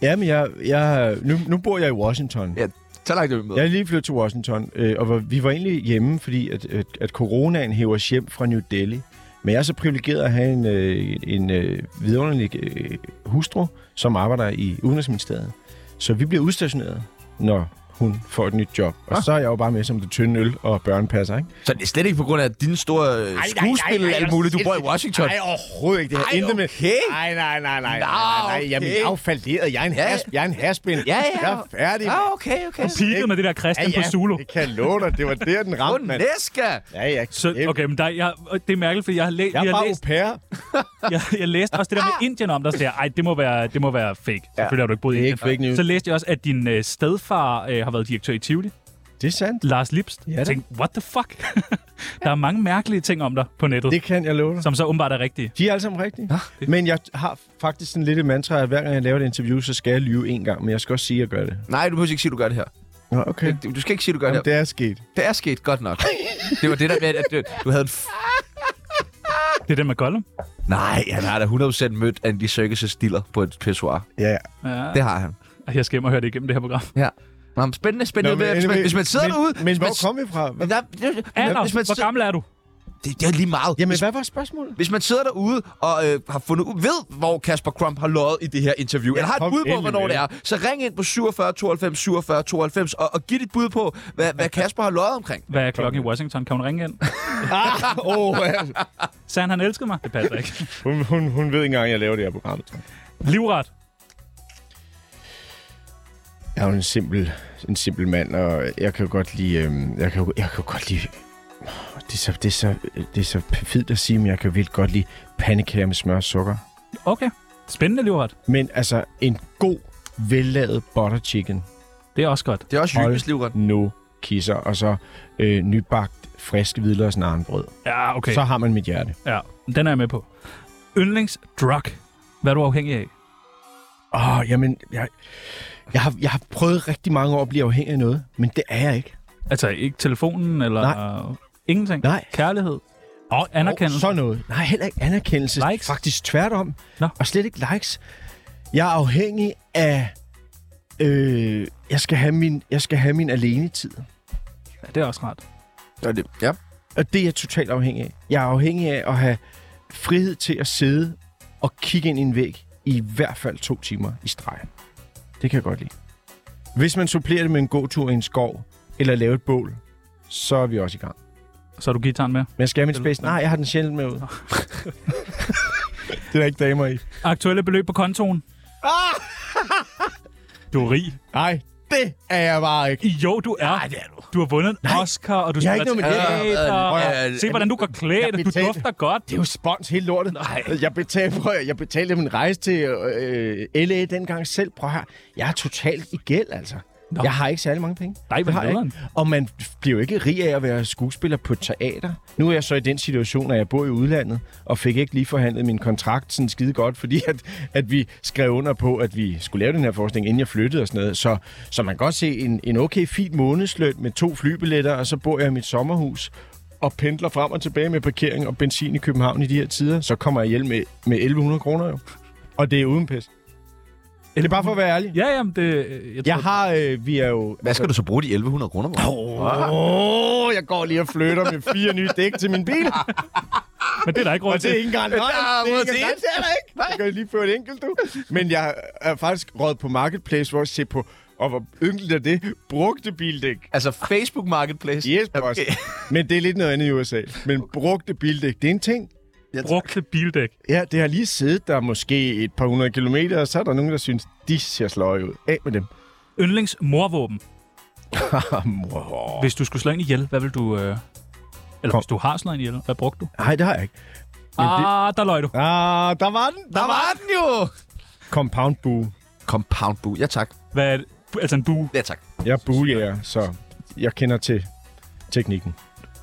Speaker 4: ja, men jeg, jeg, nu, nu bor jeg i Washington.
Speaker 1: Ja, så langt er vi med.
Speaker 4: Jeg er lige flyttet til Washington, øh, og var- vi var egentlig hjemme, fordi at, at, at coronaen hæver os hjem fra New Delhi. Men jeg er så privilegeret at have en, øh, en øh, vidunderlig øh, hustru, som arbejder i Udenrigsministeriet. Så vi bliver udstationeret, når hun får et nyt job. Og så er jeg jo bare med som det tynde øl og børnepasser, ikke?
Speaker 1: Så Ah. det er slet ikke på grund af dine store øh, skuespil og alt muligt. Du bor i Washington.
Speaker 4: Nej, overhovedet ikke. Det har
Speaker 1: Ej,
Speaker 4: intet med...
Speaker 1: okay.
Speaker 4: Nej, nej, nej, nej, nej, nej, nej.
Speaker 1: okay.
Speaker 4: Jamen, affalderet. Jeg er en,
Speaker 1: Ja.
Speaker 4: has, jeg er en haspin.
Speaker 1: Ja, ja.
Speaker 4: Jeg er færdig.
Speaker 1: Ja, Ah, okay, okay.
Speaker 2: Piket med det der Christian på Zulu.
Speaker 4: Det kan jeg love dig. Det var der, den ramte, mand.
Speaker 1: Næska!
Speaker 4: Ja, ja.
Speaker 2: Så, okay, men der, jeg, det er mærkeligt, fordi jeg har, læ-
Speaker 4: Jeg
Speaker 2: jeg
Speaker 4: er
Speaker 2: har
Speaker 4: bare au
Speaker 2: læst,
Speaker 4: pair.
Speaker 2: jeg, jeg læste også det der med Indien om, der siger, ej, det må være, det må være fake. Selvfølgelig har du ikke boet i
Speaker 4: det er
Speaker 2: Indien.
Speaker 4: ikke fake news.
Speaker 2: Så læste jeg også, at din øh, stedfar øh, har været direktør i Tivoli,
Speaker 4: Det er sandt.
Speaker 2: Lars Lipst.
Speaker 4: Ja,
Speaker 2: jeg
Speaker 4: da.
Speaker 2: tænkte, what the fuck? der er mange mærkelige ting om dig på nettet,
Speaker 4: Det kan jeg love dig.
Speaker 2: som så åbenbart er rigtige.
Speaker 4: De er alle sammen rigtige. Men jeg har faktisk sådan lidt et mantra, at hver gang jeg laver et interview, så skal jeg lyve en gang. Men jeg skal også sige, at jeg gør det.
Speaker 1: Nej, du behøver ikke sige, at du gør det her.
Speaker 4: Nå, okay.
Speaker 1: Du, du skal ikke sige, du gør
Speaker 4: Jamen,
Speaker 1: det.
Speaker 4: det er sket.
Speaker 1: Det er sket godt nok. Det var det der med, at du, du havde en... F-
Speaker 2: Det er den med Gollum.
Speaker 1: Nej, han har da 100% mødt Andy Serkis' diller på et pissoir.
Speaker 4: Ja, ja.
Speaker 2: Ja.
Speaker 1: Det har han.
Speaker 2: Jeg skal hjem og høre det igennem det her program.
Speaker 1: Ja. Nå, men spændende, spændende. Nå, men, hvis, man, hvis man sidder
Speaker 4: men,
Speaker 1: derude...
Speaker 4: Men
Speaker 1: hvis man,
Speaker 4: hvor kom vi fra? Hvad?
Speaker 1: Nej, det- det-
Speaker 2: Alder,
Speaker 1: hvis man
Speaker 2: hvor
Speaker 1: sidder-
Speaker 2: gammel er du?
Speaker 1: Det, det er lige meget.
Speaker 4: Jamen,
Speaker 1: hvis,
Speaker 4: hvad var spørgsmålet?
Speaker 1: hvis man sidder derude og øh, har fundet ud, ved, hvor Kasper Crump har løjet i det her interview, eller har et
Speaker 4: kom
Speaker 1: bud på,
Speaker 4: endelig
Speaker 1: hvornår
Speaker 4: med
Speaker 1: det er, så ring ind på 47 92 47 92 og, og giv dit bud på, hvad, hvad Kasper har løjet omkring.
Speaker 2: Hvad er klokken i Washington? Kan hun ringe ind?
Speaker 4: Åh, oh, ja.
Speaker 2: Sagde han, han elskede mig? Det passer ikke.
Speaker 4: hun, hun, hun ved ikke engang, at jeg laver det her program. tror jeg.
Speaker 2: Livret.
Speaker 4: Jeg er jo en simpel, en simpel mand, og jeg kan jo godt lide... Øhm, jeg, kan jo, jeg kan jo godt lide... Det er, så, det, er så, det er så fedt at sige, men jeg kan jo vildt godt lide pandekager med smør og sukker.
Speaker 2: Okay. Spændende livret.
Speaker 4: Men altså, en god, vellavet butter chicken.
Speaker 2: Det er også godt.
Speaker 1: Det er også
Speaker 4: Hold
Speaker 1: hyggeligt, Livret.
Speaker 4: No kisser. Og så øh, nybagt, frisk hvidløg snarbrød.
Speaker 2: Ja, okay.
Speaker 4: Okay. Så har man mit hjerte.
Speaker 2: Ja, den er jeg med på. Yndlingsdrug. Hvad er du afhængig af?
Speaker 4: Åh, oh, jamen, jeg, jeg, har, jeg har prøvet rigtig mange år at blive afhængig af noget, men det er jeg ikke.
Speaker 2: Altså, ikke telefonen eller... Nej. Ingenting?
Speaker 4: Nej.
Speaker 2: Kærlighed?
Speaker 4: Og
Speaker 2: anerkendelse.
Speaker 4: sådan noget. Nej, heller ikke anerkendelse.
Speaker 2: Likes?
Speaker 4: Faktisk tværtom.
Speaker 2: Nå.
Speaker 4: Og slet ikke likes. Jeg er afhængig af... Øh, jeg, skal have min, jeg skal have min alene-tid.
Speaker 2: Ja, det er også rart.
Speaker 1: Ja, det, ja.
Speaker 4: Og det er jeg totalt afhængig af. Jeg er afhængig af at have frihed til at sidde og kigge ind i en væg i hvert fald to timer i streg. Det kan jeg godt lide. Hvis man supplerer det med en god tur i en skov, eller lave et bål, så er vi også i gang.
Speaker 2: Så har du gitaren med.
Speaker 4: Men jeg skal have min space. Nej, jeg har den sjældent med ud. det er der ikke damer i.
Speaker 2: Aktuelle beløb på kontoen?
Speaker 4: Ah!
Speaker 2: du er rig.
Speaker 4: Nej, det er jeg bare ikke.
Speaker 2: Jo, du er. Nej, det er du. Du har vundet en Oscar, og du
Speaker 4: Jeg har
Speaker 2: spiller
Speaker 4: ikke noget med det.
Speaker 2: teater.
Speaker 1: Øh, øh, øh,
Speaker 2: Se, hvordan du går klædt, og du
Speaker 4: betalte-
Speaker 2: dufter godt.
Speaker 4: Det er jo spons hele lortet.
Speaker 2: Nej.
Speaker 4: Jeg betalte, prøv, at- jeg betalte min rejse til øh, LA dengang selv. Prøv her. Jeg er totalt i gæld, altså.
Speaker 2: Nå.
Speaker 4: Nå. Jeg har ikke særlig mange penge.
Speaker 2: Nej, hvor
Speaker 4: Det har jeg
Speaker 2: nederen.
Speaker 4: ikke. Og man bliver jo ikke rig af at være skuespiller på et teater. Nu er jeg så i den situation, at jeg bor i udlandet, og fik ikke lige forhandlet min kontrakt sådan skide godt, fordi at, at vi skrev under på, at vi skulle lave den her forestilling, inden jeg flyttede og sådan noget. Så, så man kan godt se en, en okay, fin månedsløn med to flybilletter, og så bor jeg i mit sommerhus og pendler frem og tilbage med parkering og benzin i København i de her tider, så kommer jeg hjem med, med 1100 kroner jo. Og det er uden pis. Det er bare for at være ærlig.
Speaker 2: Ja, jamen, det... øh, Jeg, tror,
Speaker 4: Jeg har, øh, vi er jo...
Speaker 1: Hvad skal du så bruge de 1100 kroner på?
Speaker 4: Åh, oh, jeg går lige og flytter med fire nye dæk til min bil.
Speaker 2: Men det er der ikke råd
Speaker 4: Og det er
Speaker 2: til.
Speaker 4: ikke engang løgn. Det er ikke engang- det er der ikke. Jeg kan lige føre et enkelt, du. Men jeg er faktisk råd på Marketplace, hvor jeg ser på, og hvor ynkeligt er det, brugte bildæk.
Speaker 1: Altså Facebook Marketplace?
Speaker 4: Yes, boss. Okay. Men det er lidt noget andet i USA. Men brugte bildæk, det er en ting.
Speaker 2: Brugte bildæk.
Speaker 4: Ja, det har lige siddet der måske et par hundrede kilometer, og så er der nogen, der synes, de ser sløje ud. Af med dem.
Speaker 2: Yndlingsmorvåben.
Speaker 4: Mor.
Speaker 2: Hvis du skulle slå en ihjel, hvad vil du... Øh... Eller
Speaker 4: Kom.
Speaker 2: hvis du har slået en ihjel, hvad brugte du?
Speaker 4: Nej, det har jeg ikke. det-
Speaker 2: Ah, der løg du.
Speaker 4: Ah, der var den.
Speaker 1: Der var den jo!
Speaker 4: Compound boo.
Speaker 1: Compound Boo. Ja tak.
Speaker 2: Hvad er det? Altså en bue.
Speaker 1: Ja tak.
Speaker 4: Jeg er buejæger, så jeg kender til teknikken.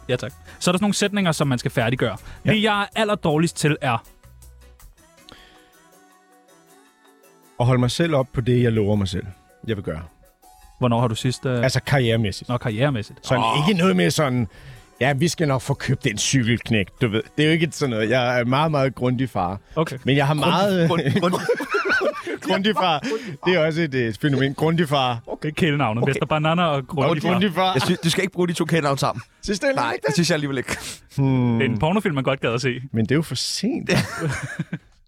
Speaker 2: Ja, tak. Så er der sådan nogle sætninger, som man skal færdiggøre. Ja. Det, jeg er allerdårligst til, er...
Speaker 4: Og holde mig selv op på det, jeg lover mig selv, jeg vil gøre.
Speaker 2: Hvornår har du sidst... Øh...
Speaker 4: Altså karrieremæssigt.
Speaker 2: Nå, karrieremæssigt. Ah,
Speaker 4: Sådan, oh. Ikke noget med sådan, ja, vi skal nok få købt den cykelknæk, du ved. Det er jo ikke sådan noget. Jeg er meget, meget grundig far.
Speaker 2: Okay.
Speaker 4: Men jeg har meget...
Speaker 1: Grund, grund,
Speaker 4: grundig far. Det er også et, øh, fænomen. Grundig far.
Speaker 2: Okay. Kælenavnet. Okay. Vester Banana og Grundig.
Speaker 4: Grundig far.
Speaker 1: jeg synes, du skal ikke bruge de to kælenavn sammen.
Speaker 4: Synes det er
Speaker 1: Nej, det synes jeg alligevel ikke.
Speaker 2: Det er en pornofilm, man godt gad at se.
Speaker 4: Men det er jo for sent.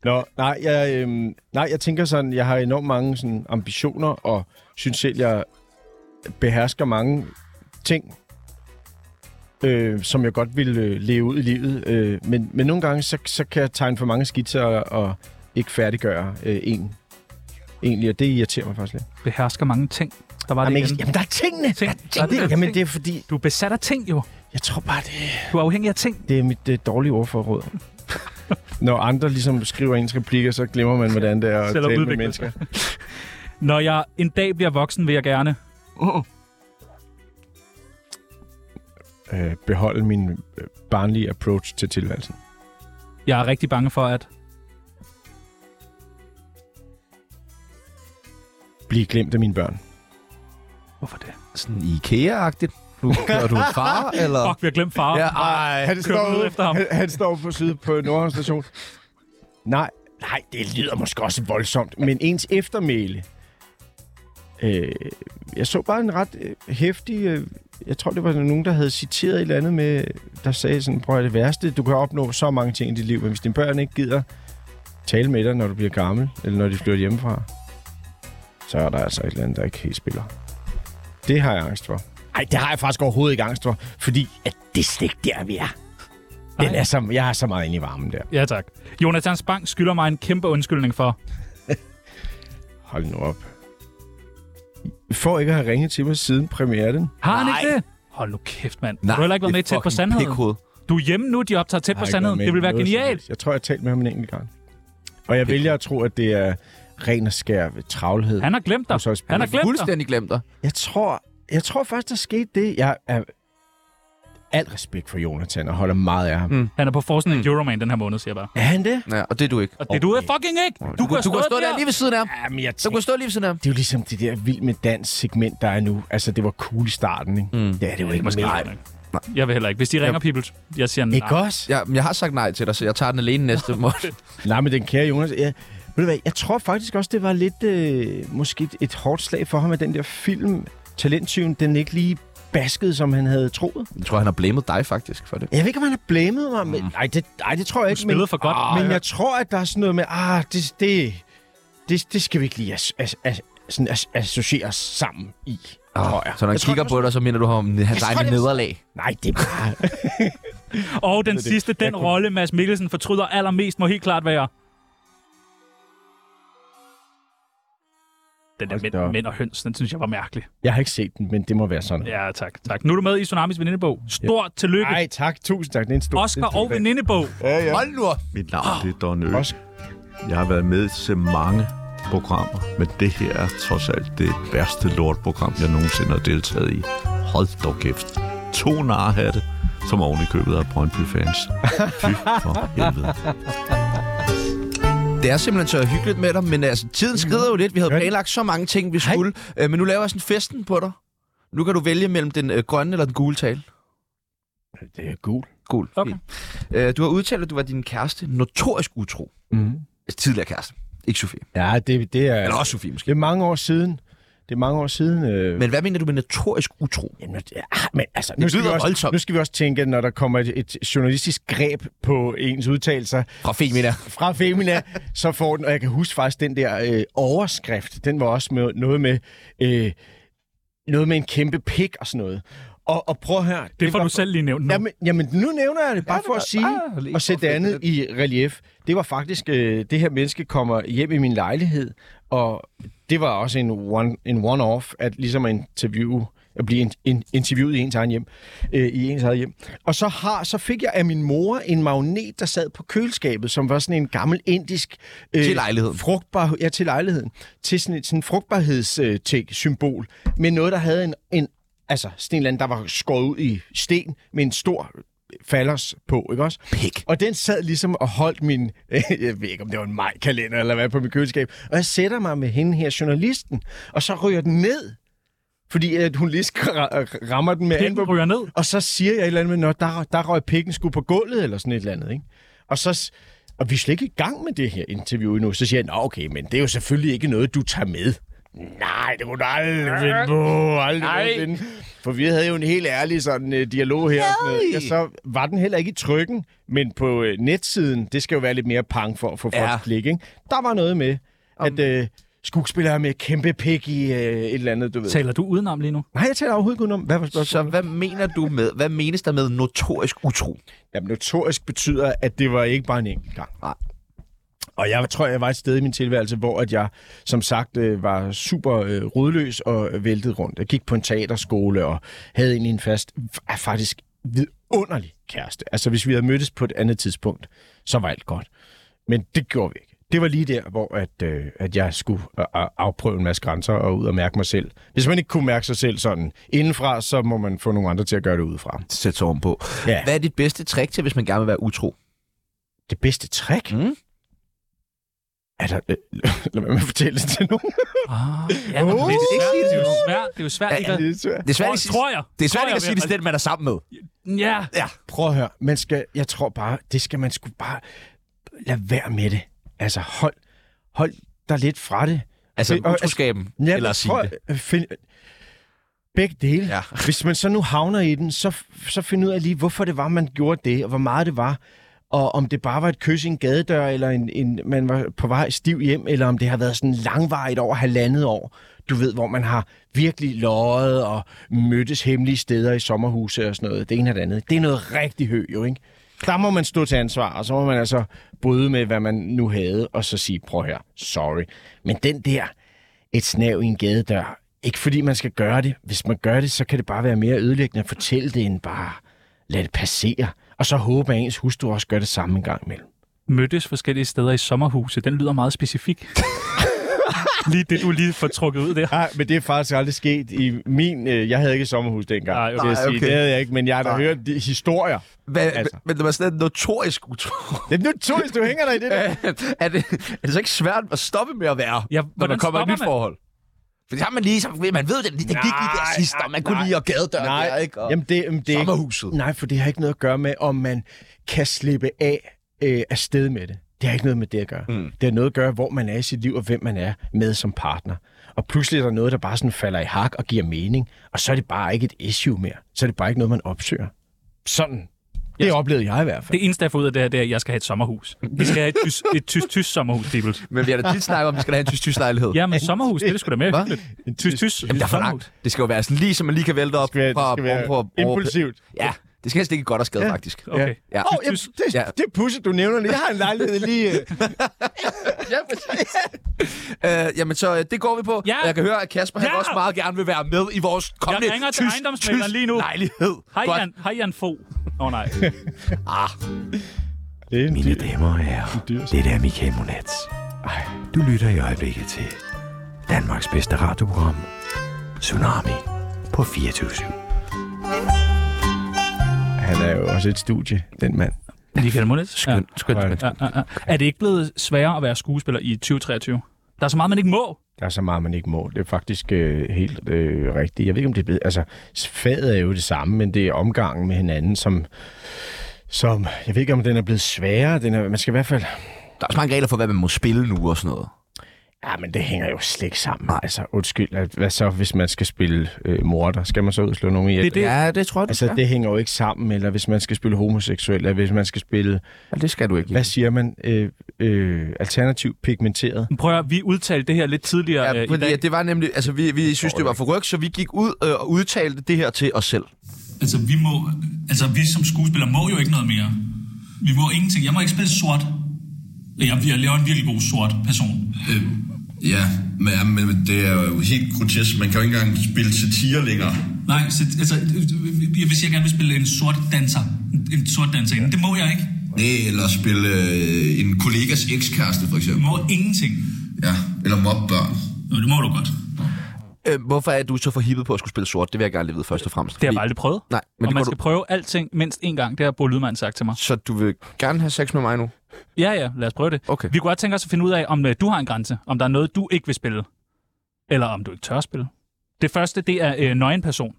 Speaker 4: Nå, nej jeg, øhm, nej, jeg tænker sådan, jeg har enormt mange sådan, ambitioner, og synes selv, jeg behersker mange ting, øh, som jeg godt vil øh, leve ud i livet. Øh, men, men nogle gange, så, så kan jeg tegne for mange skitser og, og ikke færdiggøre øh, en. Egentlig, og det irriterer mig faktisk lidt.
Speaker 2: Behersker mange ting. Der var
Speaker 4: Jamen,
Speaker 2: det
Speaker 4: ikke,
Speaker 2: igen.
Speaker 4: jamen, der er tingene!
Speaker 2: Ting.
Speaker 4: Der er det, jamen, det er fordi,
Speaker 2: Du er besat af ting, jo.
Speaker 4: jeg tror bare, det
Speaker 2: Du er afhængig af ting.
Speaker 4: Det er mit øh, dårlige ordforråd. Når andre ligesom skriver ens replikker, så glemmer man, hvordan det er at
Speaker 2: Selv at
Speaker 4: tale med
Speaker 2: udvikle
Speaker 4: mennesker.
Speaker 2: Når jeg en dag bliver voksen, vil jeg gerne...
Speaker 4: Øh, beholde min øh, barnlige approach til tilværelsen.
Speaker 2: Jeg er rigtig bange for at...
Speaker 4: Blive glemt af mine børn.
Speaker 2: Hvorfor det?
Speaker 1: sådan IKEA-agtigt? Nu kører du en far, eller?
Speaker 2: Fuck, vi har glemt far.
Speaker 1: Ja,
Speaker 2: Ja.
Speaker 1: ej.
Speaker 4: Han
Speaker 2: Kører du ned efter ham?
Speaker 4: Han, han står på side på Nordhavn station. Nej, nej, det lyder måske også voldsomt, men ens eftermæle... Øh, jeg så bare en ret øh, hæftig... Øh, jeg tror, det var nogen, der havde citeret et eller andet med... Der sagde sådan, prøv at høre, det værste, du kan opnå så mange ting i dit liv, men hvis dine børn ikke gider tale med dig, når du bliver gammel, eller når de flytter hjemmefra, så er der altså et eller andet, der ikke helt spiller. Det har jeg angst for. Nej, det har jeg faktisk overhovedet ikke angst for, fordi at det er slet ikke der, vi er. Den
Speaker 2: Nej.
Speaker 4: er så, jeg er så meget inde i varmen der.
Speaker 2: ja, tak. Jonathan Spang skylder mig en kæmpe undskyldning for.
Speaker 4: Hold nu op. For ikke at have ringet til mig siden premieren.
Speaker 2: Har han ikke det? Hold nu kæft, mand. Nej,
Speaker 1: Nej,
Speaker 2: du har heller ikke været
Speaker 1: det
Speaker 2: med i tæt på
Speaker 1: fucking
Speaker 2: sandheden.
Speaker 1: pikhoved.
Speaker 2: Du er hjemme nu, de optager tæt på sandheden. Det vil være genialt.
Speaker 4: Jeg tror, jeg har talt med ham en enkelt gang. Og jeg vælger at tro, at det er ren og skær ved travlhed.
Speaker 2: Han har glemt dig.
Speaker 4: Og så er spillet
Speaker 2: Han har glemt dig.
Speaker 1: Fuldstændig glemt dig.
Speaker 4: Jeg tror, jeg tror faktisk, der skete det. Jeg er alt respekt for Jonathan og holder meget af ham. Mm.
Speaker 2: Han er på forsiden af Euroman den her måned, siger jeg bare.
Speaker 4: Er han det?
Speaker 1: Ja, og det er du ikke.
Speaker 2: Og det du er fucking ikke. Du, kunne
Speaker 1: du kan
Speaker 2: stå
Speaker 1: stå der lige ved siden af ham.
Speaker 4: Jamen, jeg
Speaker 1: Du kan stå lige ved siden af ham.
Speaker 4: Det er jo ligesom det der vild med dans segment, der er nu. Altså, det var cool i starten, ikke? Mm. Ja, det var ikke
Speaker 2: Måske
Speaker 4: mere.
Speaker 2: ikke. Jeg vil heller ikke. Hvis de ringer, people, jeg siger nej.
Speaker 4: Ikke også?
Speaker 1: Ja, men jeg har sagt nej til dig, så jeg tager den alene næste måned.
Speaker 4: Nej, men den kære Jonas... Jeg, ved du hvad, jeg tror faktisk også, det var lidt... Øh, måske et, et hårdt slag for ham, at den der film, Talenttyven, den ikke lige baskede, som han havde troet.
Speaker 1: Jeg tror, han har blamet dig faktisk for det.
Speaker 4: Jeg ved ikke, om han har blamet mig, men... Nej, det, ej, det tror jeg ikke.
Speaker 2: spillede
Speaker 4: men,
Speaker 2: for godt.
Speaker 4: Ah, men
Speaker 2: Ja.
Speaker 4: jeg tror, at der er sådan noget med... Ah, det, det, det, det skal vi ikke lige as, as, as, sådan as, associere os sammen i, ah, tror jeg.
Speaker 1: Så når han
Speaker 4: jeg tror,
Speaker 1: kigger
Speaker 4: det var
Speaker 1: på dig, så minder du ham om hans
Speaker 4: tror,
Speaker 1: egne
Speaker 4: det var-
Speaker 1: nederlag.
Speaker 4: sådan- Nej, det er bare...
Speaker 2: Og den sidste, den rolle, Mads Mikkelsen fortryder allermest, må helt klart være... Den der
Speaker 4: Hold da
Speaker 2: mænd,
Speaker 4: op.
Speaker 2: mænd og høns, den synes jeg var mærkelig.
Speaker 4: Jeg har ikke set den, men det må være sådan.
Speaker 2: Ja, tak. tak. Nu er du med i Tsunamis venindebog. Stort tillykke.
Speaker 4: Nej, tak. Tusind tak. Det er en stor... det er
Speaker 2: Oscar
Speaker 4: en stor
Speaker 2: og
Speaker 4: dag.
Speaker 2: venindebog.
Speaker 1: Hold nu op.
Speaker 9: Mit navn oh. det er Don Ø.
Speaker 4: Også-
Speaker 9: Jeg har været med til mange programmer, men det her er trods alt det værste lortprogram, jeg nogensinde har deltaget i. Hold dog kæft. To narhatte, som oven i købet af Brøndby-fans. Fy for helvede.
Speaker 1: Det er simpelthen så hyggeligt med dig, men altså, tiden skrider jo lidt. Vi havde planlagt så mange ting, vi skulle. Øh, men nu laver jeg sådan festen på dig. Nu kan du vælge mellem den øh, grønne eller den gule tale.
Speaker 4: Det er gul.
Speaker 1: Gul.
Speaker 2: Okay.
Speaker 1: fint. Øh, du har udtalt, at du var din kæreste notorisk utro.
Speaker 4: Mm.
Speaker 1: Altså, Tidligere kæreste. Ikke Sofie. Altså,
Speaker 4: Ja, det, det, er,
Speaker 1: Eller også Sofie måske.
Speaker 4: det er mange år siden. Det er mange år siden. Øh,
Speaker 1: Men hvad mener du med notorisk utro?
Speaker 4: Jamen, nu- ah, men altså,
Speaker 1: Det
Speaker 4: nu, skal vi
Speaker 1: lyder
Speaker 4: også,
Speaker 1: voldsomt.
Speaker 4: nu skal vi også tænke, at når der kommer et, et journalistisk greb på ens udtalelser
Speaker 1: Fra Femina.
Speaker 4: fra Femina, så får den, og jeg kan huske faktisk den der øh, overskrift, den var også med, noget med øh, noget med en kæmpe pik og sådan noget. Og, og prøv at høre.
Speaker 2: Det får
Speaker 4: var-
Speaker 2: du selv lige nævnt nu.
Speaker 4: Jamen, jamen, nu nævner jeg det bare for at sige
Speaker 1: lige
Speaker 4: og sætte det andet i relief. Det var faktisk, øh, det her menneske kommer hjem i min lejlighed, og det var også en, one, en one-off, at ligesom at interviewe at blive in, in, interviewet i ens egen hjem, øh, i ens eget hjem. Og så, har, så fik jeg af min mor en magnet, der sad på køleskabet, som var sådan en gammel indisk... Øh,
Speaker 1: Til lejligheden.
Speaker 4: Frugtbar, ja, til lejligheden. Til sådan, et- sådan en frugtbarhedssymbol, med noget, der havde en, en altså sådan en eller anden, der var skåret ud i sten med en stor fallers på, ikke også?
Speaker 1: Pik.
Speaker 4: Og den sad ligesom og holdt min, jeg ved ikke om det var en majkalender eller hvad, på mit køleskab. Og jeg sætter mig med hende her, journalisten, og så ryger den ned, fordi at hun lige skra- rammer den med
Speaker 2: Pinden
Speaker 4: albuen.
Speaker 2: ryger ned.
Speaker 4: Og så siger jeg et eller andet med, når der, der røg pikken skulle på gulvet, eller sådan et eller andet, ikke? Og så... s- Og vi er slet ikke i gang med det her interview endnu. Så siger jeg, nå okay, men det er jo selvfølgelig ikke noget, du tager med. Nej, det kunne du aldrig finde på. Aldrig finde. For vi havde jo en helt ærlig sådan uh, dialog her. Nej. Ja, så var den heller ikke i trykken, men på uh, netsiden, det skal jo være lidt mere pang for at få
Speaker 1: Ja.
Speaker 4: folks klik, ikke? Der var noget med, at uh, skuespillere med kæmpe pik i uh, et eller andet, du ved.
Speaker 2: Taler du udenom lige nu? Ah,
Speaker 4: Nej, jeg taler overhovedet ikke udenom. Hvad var spørgsmålet?
Speaker 1: Så hvad mener du med, hvad menes der med notorisk utro?
Speaker 4: Jamen, notorisk betyder, at det var ikke bare en enkelt gang.
Speaker 1: Nej.
Speaker 4: Og jeg tror, jeg var et sted i min tilværelse, hvor at jeg, som sagt, øh, var super øh, rodløs og væltede rundt. Jeg gik på en teaterskole og havde egentlig en fast, er faktisk vidunderlig kæreste. Altså, hvis vi havde mødtes på et andet tidspunkt, så var alt godt. Men det gjorde vi ikke. Det var lige der, hvor at, øh, at jeg skulle øh, øh, afprøve en masse grænser og ud og mærke mig selv. Hvis man ikke kunne mærke sig selv sådan indenfra, så må man få nogle andre til at gøre det udefra.
Speaker 1: Sæt sig om på.
Speaker 4: Ja.
Speaker 1: Hvad er dit bedste trick til, hvis man gerne vil være utro?
Speaker 4: Det bedste trick?
Speaker 1: Mm.
Speaker 4: Altså, øh, lad mig fortælle det til nogen.
Speaker 2: Ja, men det, er svært, det er jo svært. Det er jo svært
Speaker 1: Ja,
Speaker 2: ikke at...
Speaker 4: Det er svært.
Speaker 1: Det er svært,
Speaker 2: Tror-
Speaker 1: ikke at sige-
Speaker 2: tror jeg.
Speaker 1: Det er svært
Speaker 2: Tror
Speaker 1: ikke at
Speaker 2: jeg,
Speaker 1: sige det
Speaker 2: men-
Speaker 1: til den, man er sammen med.
Speaker 2: Ja,
Speaker 4: Prøv at høre. Man skal, jeg tror bare, det skal man sgu bare lade være med det. Altså, hold, hold dig lidt fra det.
Speaker 1: Altså
Speaker 4: Det- og-
Speaker 1: utroskaben,
Speaker 4: Ja,
Speaker 1: eller
Speaker 4: men
Speaker 1: at sige
Speaker 4: prøv
Speaker 1: det.
Speaker 4: at øh, Find... Begge dele.
Speaker 1: Ja.
Speaker 4: Ja. Hvis man så nu havner i den, så, så find ud af lige, hvorfor det var, man gjorde det, og hvor meget det var. Og om det bare var et kys i en gadedør, eller en, en, man var på vej stiv hjem, eller om det har været sådan langvarigt over halvandet år. Du ved, hvor man har virkelig løjet og mødtes hemmelige steder i sommerhuse og sådan noget. Det ene og det andet. Det er noget rigtig højt, jo, ikke? Der må man stå til ansvar, og så må man altså bryde med, hvad man nu havde, og så sige, prøv her, sorry. Men den der, et snav i en gadedør. Ikke fordi man skal gøre det. Hvis man gør det, så kan det bare være mere ødelæggende at fortælle det, end bare lade det passere. Og så håbe, at ens hustru også gør det samme en gang imellem.
Speaker 2: mødtes forskellige steder i sommerhuse. Den lyder meget specifik. lige det, du lige får trukket ud der.
Speaker 4: Nej, men det er faktisk aldrig sket i min... Øh, jeg havde ikke et sommerhus dengang.
Speaker 2: Nej, okay.
Speaker 4: vil jeg
Speaker 1: Nej,
Speaker 4: sige.
Speaker 1: okay.
Speaker 4: Det havde jeg ikke, men jeg har da
Speaker 1: Nej.
Speaker 4: hørt de historier.
Speaker 1: Hvad,
Speaker 4: Altså.
Speaker 1: Men det var sådan en notorisk utro.
Speaker 4: Det er notorisk, du hænger dig i det der.
Speaker 1: er, det, er det så ikke svært at stoppe med at være,
Speaker 2: Ja,
Speaker 1: ja, når der
Speaker 2: hvordan
Speaker 1: kommer et
Speaker 2: stopper
Speaker 1: nyt
Speaker 2: man?
Speaker 1: forhold? For det har man lige, så man ved, det, det gik lige der sidst, og man kunne
Speaker 4: nej.
Speaker 1: lige og gadedøren der,
Speaker 4: Nej,
Speaker 1: ikke? Og
Speaker 4: jamen det, jamen det er ikke,
Speaker 1: sommerhuset.
Speaker 4: Nej, for det har ikke noget at gøre med, om man kan slippe af øh, afsted med det. Det har ikke noget med det at gøre. Mm. Det har noget at gøre, hvor man er i sit liv, og hvem man er med som partner. Og pludselig er der noget, der bare sådan falder i hak og giver mening, og så er det bare ikke et issue mere. Så er det bare ikke noget, man opsøger. Sådan. Det oplevede jeg i hvert fald.
Speaker 2: Det eneste, jeg får ud af det her, det er, at jeg skal have et sommerhus. Vi skal have et tysk, et tysk, tysk sommerhus, Dibel.
Speaker 1: Men vi har da tit snakket om, at vi skal da have en tysk-tysk lejlighed.
Speaker 2: Ja, men sommerhus, det er det sgu da mere
Speaker 1: Hva?
Speaker 2: hyggeligt. Tysk, tysk.
Speaker 1: Jamen, der er for langt. Det skal jo være sådan lige, så man lige kan vælte op
Speaker 4: være- det
Speaker 1: fra
Speaker 4: skal være
Speaker 1: oven på-
Speaker 4: impulsivt.
Speaker 1: Ja, det skal helst ikke godt og skade, ja. faktisk.
Speaker 2: Okay.
Speaker 1: Ja.
Speaker 4: Åh, jamen, det,
Speaker 1: Ja.
Speaker 4: det er pudsigt, du nævner lige. Jeg har en lejlighed lige... Øh.
Speaker 1: Øh, jamen, så øh, det går vi på.
Speaker 2: Ja.
Speaker 1: Og Jeg kan høre, at Kasper han
Speaker 2: Ja.
Speaker 1: også meget gerne vil være med i vores kommende
Speaker 2: ringer til ejendomsmægleren
Speaker 1: tysk
Speaker 2: lige nu.
Speaker 1: lejlighed.
Speaker 2: Hej,
Speaker 1: Godt.
Speaker 2: Jan, hej Jan Fogh. Åh oh, nej.
Speaker 4: Det er en
Speaker 10: Mine damer og herrer, det er Michael Monats. Du lytter i øjeblikket til Danmarks bedste radioprogram, Tsunami på 24
Speaker 4: Han er jo også et studie, den mand.
Speaker 2: Michael Monitz. Skøn,
Speaker 1: skønt, skønt.
Speaker 2: Ja, ja, ja. Er det ikke blevet sværere at være skuespiller i 2023? Der er så meget, man ikke må.
Speaker 4: Der er så meget, man ikke må. Det er faktisk øh, helt øh, rigtigt. Jeg ved ikke, om det er blevet... Altså, faget er jo det samme, men det er omgangen med hinanden, som... som jeg ved ikke, om den er blevet sværere. Den er, man skal i hvert fald...
Speaker 1: Der er også mange regler for, hvad man må spille nu og sådan noget.
Speaker 4: Ja, men det hænger jo slet ikke sammen. Nej. Altså, undskyld. at- Hvad så, hvis man skal spille øh, morder? Skal man så ud og slå nogen ihjel?
Speaker 2: Det er det.
Speaker 1: Ja, det tror jeg, du
Speaker 4: Altså, det hænger jo ikke sammen. Eller hvis man skal spille homoseksuel, eller hvis man skal spille...
Speaker 1: Ja, det skal du ikke.
Speaker 4: Hvad siger man? Øh, øh, alternativt pigmenteret?
Speaker 2: Prøv at høre, vi udtalte det her lidt tidligere ja,
Speaker 1: Ja,
Speaker 2: øh, i
Speaker 1: fordi
Speaker 2: dag.
Speaker 1: at det var nemlig, altså vi, vi synes, det var for ryg, så vi gik ud øh, og udtalte det her til os selv.
Speaker 11: Altså, vi må... Altså, vi som skuespillere må jo ikke noget mere. Vi må ingenting. Jeg må ikke spille sort. Jeg, jeg laver en virkelig god sort person.
Speaker 10: Øh, ja, men, ja, men men det er jo helt grotesk. Man kan jo ikke engang spille satire længere.
Speaker 11: Nej, så, altså, øh, hvis jeg gerne vil spille en sort danser, en- en sort danser, det må jeg ikke.
Speaker 10: Nej, eller spille øh, en kollegas ekskæreste, for
Speaker 11: Jeg
Speaker 10: eksempel.
Speaker 11: må ingenting.
Speaker 10: Ja, eller mobbe børn.
Speaker 11: Nå, det må du godt.
Speaker 1: Øh, hvorfor er du så forhippet på at skulle spille sort? Det vil jeg gerne lige vide først og fremmest.
Speaker 2: Det har jeg
Speaker 1: Fordi-
Speaker 2: bare aldrig prøvet.
Speaker 1: Nej, men
Speaker 2: og
Speaker 1: det
Speaker 2: man
Speaker 1: må
Speaker 2: skal
Speaker 1: du...
Speaker 2: du... prøve alting mindst en gang. Det har Bo Lydmann sagt til mig.
Speaker 1: Så du vil gerne have sex med mig nu?
Speaker 2: Ja, ja, lad os prøve det.
Speaker 1: Okay.
Speaker 2: Vi kunne godt tænke os at finde ud af, om øh, du har en grænse. Om der er noget, du ikke vil spille. Eller om du ikke tør spille. Det første, det er øh, nøgenperson.
Speaker 4: Det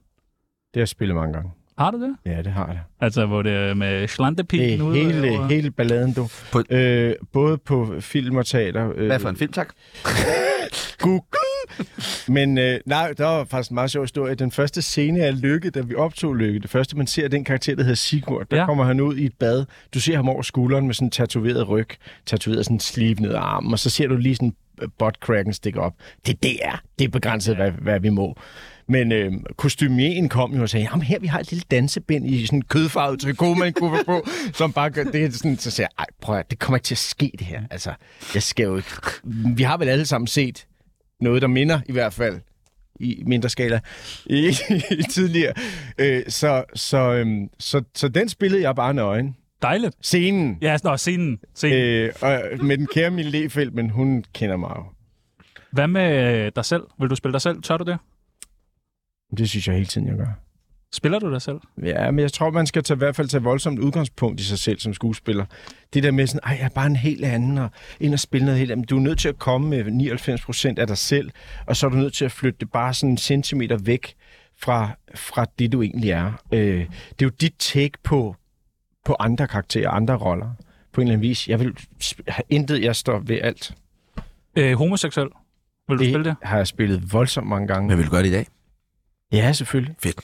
Speaker 4: har jeg spillet mange gange.
Speaker 2: Har du det?
Speaker 4: Ja, det har jeg.
Speaker 2: Altså, hvor det er øh, med slantepikken
Speaker 4: Det
Speaker 2: ude.
Speaker 4: hele,
Speaker 2: over-
Speaker 4: hele balladen, du.
Speaker 1: På-
Speaker 4: På... Øh, både på film og teater. Øh,
Speaker 1: Hvad for en film, tak?
Speaker 4: Google. Men øh, nej, der var faktisk en meget sjov historie. Den første scene af Lykke, da vi optog Lykke, det første, man ser, er den karakter, der hedder Sigurd. Der
Speaker 2: Ja.
Speaker 4: ja. kommer han ud i et bad. Du ser ham over skulderen med sådan en tatoveret ryg, tatoveret sådan en sleeve ned ad armen, og så ser du lige sådan øh, buttcracken stikke op. Det, det er. Det er begrænset, hvad, hvad vi må. Men øh, kostymieren kom jo og sagde, jamen her, vi har et lille dansebind i sådan en kødfarvet trikot, man kunne få på, som bare gør, det er sådan, så siger jeg, ej, prøv at, høre, det kommer ikke til at ske det her. Altså, jeg skal jo ikke. Vi har vel alle sammen set noget, der minder i hvert fald i mindre skala i, i tidligere. Øh, så, så, øhm, så, så den spillede jeg bare nøgen.
Speaker 2: Dejligt.
Speaker 4: Scenen.
Speaker 2: Ja, nå, scenen. scenen. Øh.
Speaker 4: Øh, og med den kære Mille Lefeld, men hun kender mig jo.
Speaker 2: Hvad med øh, dig selv? Vil du spille dig selv? Tør du det?
Speaker 4: Det synes jeg hele tiden, jeg gør.
Speaker 2: Spiller du dig selv?
Speaker 4: Ja, men jeg tror, man skal tage, i hvert fald tage voldsomt udgangspunkt i sig selv som skuespiller. Det der med sådan, ej, jeg er bare en helt anden, og ind og spille noget helt andet. Du er nødt til at komme med 99 procent af dig selv, og så er du nødt til at flytte det bare sådan en centimeter væk fra, fra det, du egentlig er. Øh, det er jo dit take på, på andre karakterer, andre roller, på en eller anden vis. Jeg vil sp- have intet, jeg står ved alt.
Speaker 2: Øh, homoseksuel? Vil du
Speaker 4: det
Speaker 2: spille det?
Speaker 4: har jeg spillet voldsomt mange gange.
Speaker 1: Men vil du gøre det i dag?
Speaker 4: Ja, selvfølgelig.
Speaker 1: Fedt.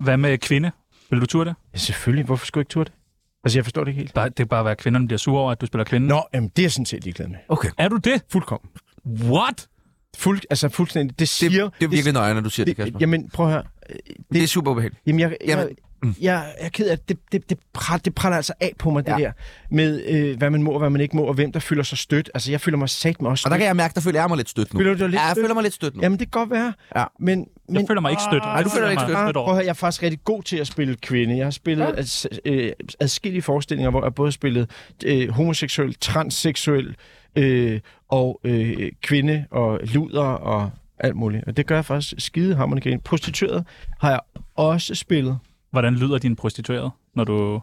Speaker 2: Hvad med kvinde? Vil du turde det?
Speaker 4: Ja, selvfølgelig. Hvorfor skulle jeg ikke turde det? Altså, jeg forstår det ikke helt.
Speaker 2: Bare, det er bare, hvad kvinderne bliver sure over, at du spiller kvinde.
Speaker 4: Nå, jamen, det er jeg sådan set ligeglad med.
Speaker 1: Okay.
Speaker 2: Er du det?
Speaker 4: Fuldkommen.
Speaker 2: What?
Speaker 4: Fuld, altså fuldstændig. Det siger...
Speaker 1: Det er virkelig nøje, når du siger det, Kasper.
Speaker 4: Jamen, prøv at høre. Det,
Speaker 1: det er super ubehageligt.
Speaker 4: Jamen, jeg, jeg,
Speaker 1: Jamen, mm.
Speaker 4: jeg, jeg er ked af, at det, det, det, pral, det praller altså af på mig, det der. Med, øh, hvad man må og hvad man ikke må, og hvem der føler sig stødt. Altså, jeg føler mig sat med også
Speaker 1: Og der kan jeg mærke, der føler jeg mig lidt stødt nu.
Speaker 4: Føler du dig lidt
Speaker 1: ja, jeg
Speaker 4: stødt?
Speaker 1: føler mig lidt stødt nu.
Speaker 4: Jamen, det kan godt være.
Speaker 1: Ja.
Speaker 4: Men, men,
Speaker 2: føler mig ikke stødt.
Speaker 1: Nej, du føler dig ikke stødt.
Speaker 4: Ah, prøv at høre, jeg er faktisk rigtig god til at spille kvinde. Jeg har spillet ads, øh, adskillige forestillinger, hvor jeg både har spillet øh, homoseksuel, transseksuel øh, og øh, kvinde og luder og alt muligt. Og det gør jeg faktisk skidehammerende grin. Prostitueret har jeg også spillet.
Speaker 2: Hvordan lyder din prostituerede, når du...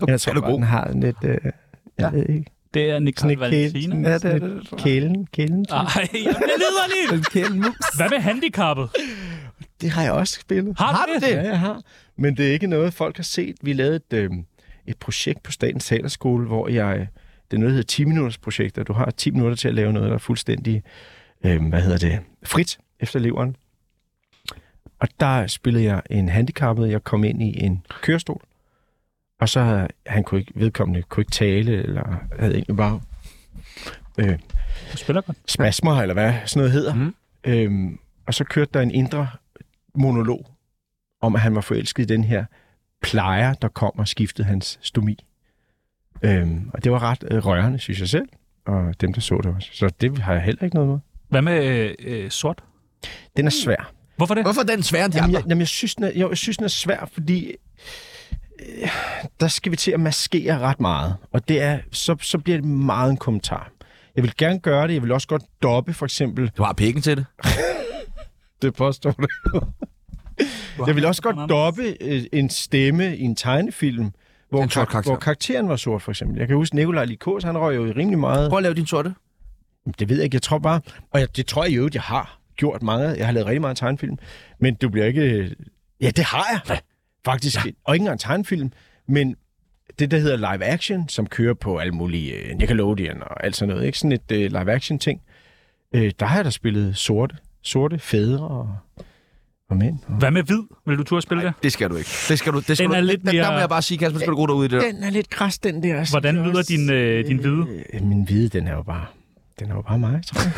Speaker 4: Okay, jeg tror,
Speaker 1: er du
Speaker 4: bare,
Speaker 1: god.
Speaker 4: den har en lidt... Øh, jeg ved ikke.
Speaker 2: Det er Nicole
Speaker 4: Sådan et kælen.
Speaker 2: Valentina.
Speaker 4: Ja, det er det. Kælen, kælen.
Speaker 2: Ej, jeg bliver liderlig! Hvad med handicappet?
Speaker 4: Det har jeg også spillet.
Speaker 2: Har du det?
Speaker 4: Ja, jeg har. Men det er ikke noget, folk har set. Vi lavede et, øh, et projekt på Statens Teaterskole, hvor jeg... Det er noget, der hedder 10 minutters projekt, og du har 10 minutter til at lave noget, der er fuldstændig... Øh, hvad hedder det? Frit efter leveren. Og der spillede jeg en handicappet. Jeg kom ind i en kørestol. Og så havde han kunne ikke, vedkommende kunne ikke tale, eller havde egentlig bare øh,
Speaker 2: Du spiller godt.
Speaker 4: spasmer, eller hvad sådan noget hedder.
Speaker 1: Mhm.
Speaker 4: Mm. Øhm, og så kørte der en indre monolog om, at han var forelsket i den her plejer, der kom og skiftede hans stomi. Øhm, og det var ret øh, rørende, synes jeg selv, og dem, der så det også. Så det har jeg heller ikke noget med.
Speaker 2: Hvad med øh, øh, sort?
Speaker 4: Den er svær.
Speaker 2: Hvorfor det?
Speaker 1: Hvorfor er den sværere end de
Speaker 4: Jamen,
Speaker 1: andre?
Speaker 4: jeg, jamen, jeg, synes, den er, jeg, jeg synes, den er svær, fordi øh, der skal vi til at maskere ret meget. Og det er, så, så bliver det meget en kommentar. Jeg vil gerne gøre det. Jeg vil også godt doppe, for eksempel,
Speaker 1: Du har pikken til det.
Speaker 4: Det påstår du. jeg ville også godt doppe øh, en stemme i en tegnefilm, hvor,
Speaker 1: En sort
Speaker 4: kar-
Speaker 1: karakter.
Speaker 4: hvor karakteren var sort, for eksempel. Jeg kan huske, Nikolaj Likos, han røg jo i rimelig meget.
Speaker 1: Prøv at lave din sorte.
Speaker 4: Det ved jeg ikke, jeg tror bare... Og jeg, det tror jeg i øvrigt, jeg har gjort meget. Jeg har lavet rigtig meget tegnefilm. Men du bliver ikke... Ja, det har jeg. Faktisk. Ja. Og ikke engang tegnefilm. Men det, der hedder live action, som kører på alle mulige øh, Nickelodeon og alt sådan noget. Ikke sådan et øh, live action ting. Øh, der har jeg da spillet sorte, sorte fædre og, og mænd. Og...
Speaker 2: Hvad med hvid? Vil du turde spille det?
Speaker 1: Det skal du ikke. Det skal du, det skal
Speaker 2: Den
Speaker 1: du,
Speaker 2: er lidt
Speaker 1: der, der,
Speaker 2: mere-
Speaker 1: må jeg bare sige, Kasper, skal du gå derude i det der.
Speaker 4: Den er lidt græs, den der. Jeg
Speaker 2: Hvordan
Speaker 4: synes
Speaker 2: lyder
Speaker 4: også,
Speaker 2: din, øh, din hvide?
Speaker 4: Øh, min hvide, den er jo bare, den er jo bare mig, tror jeg.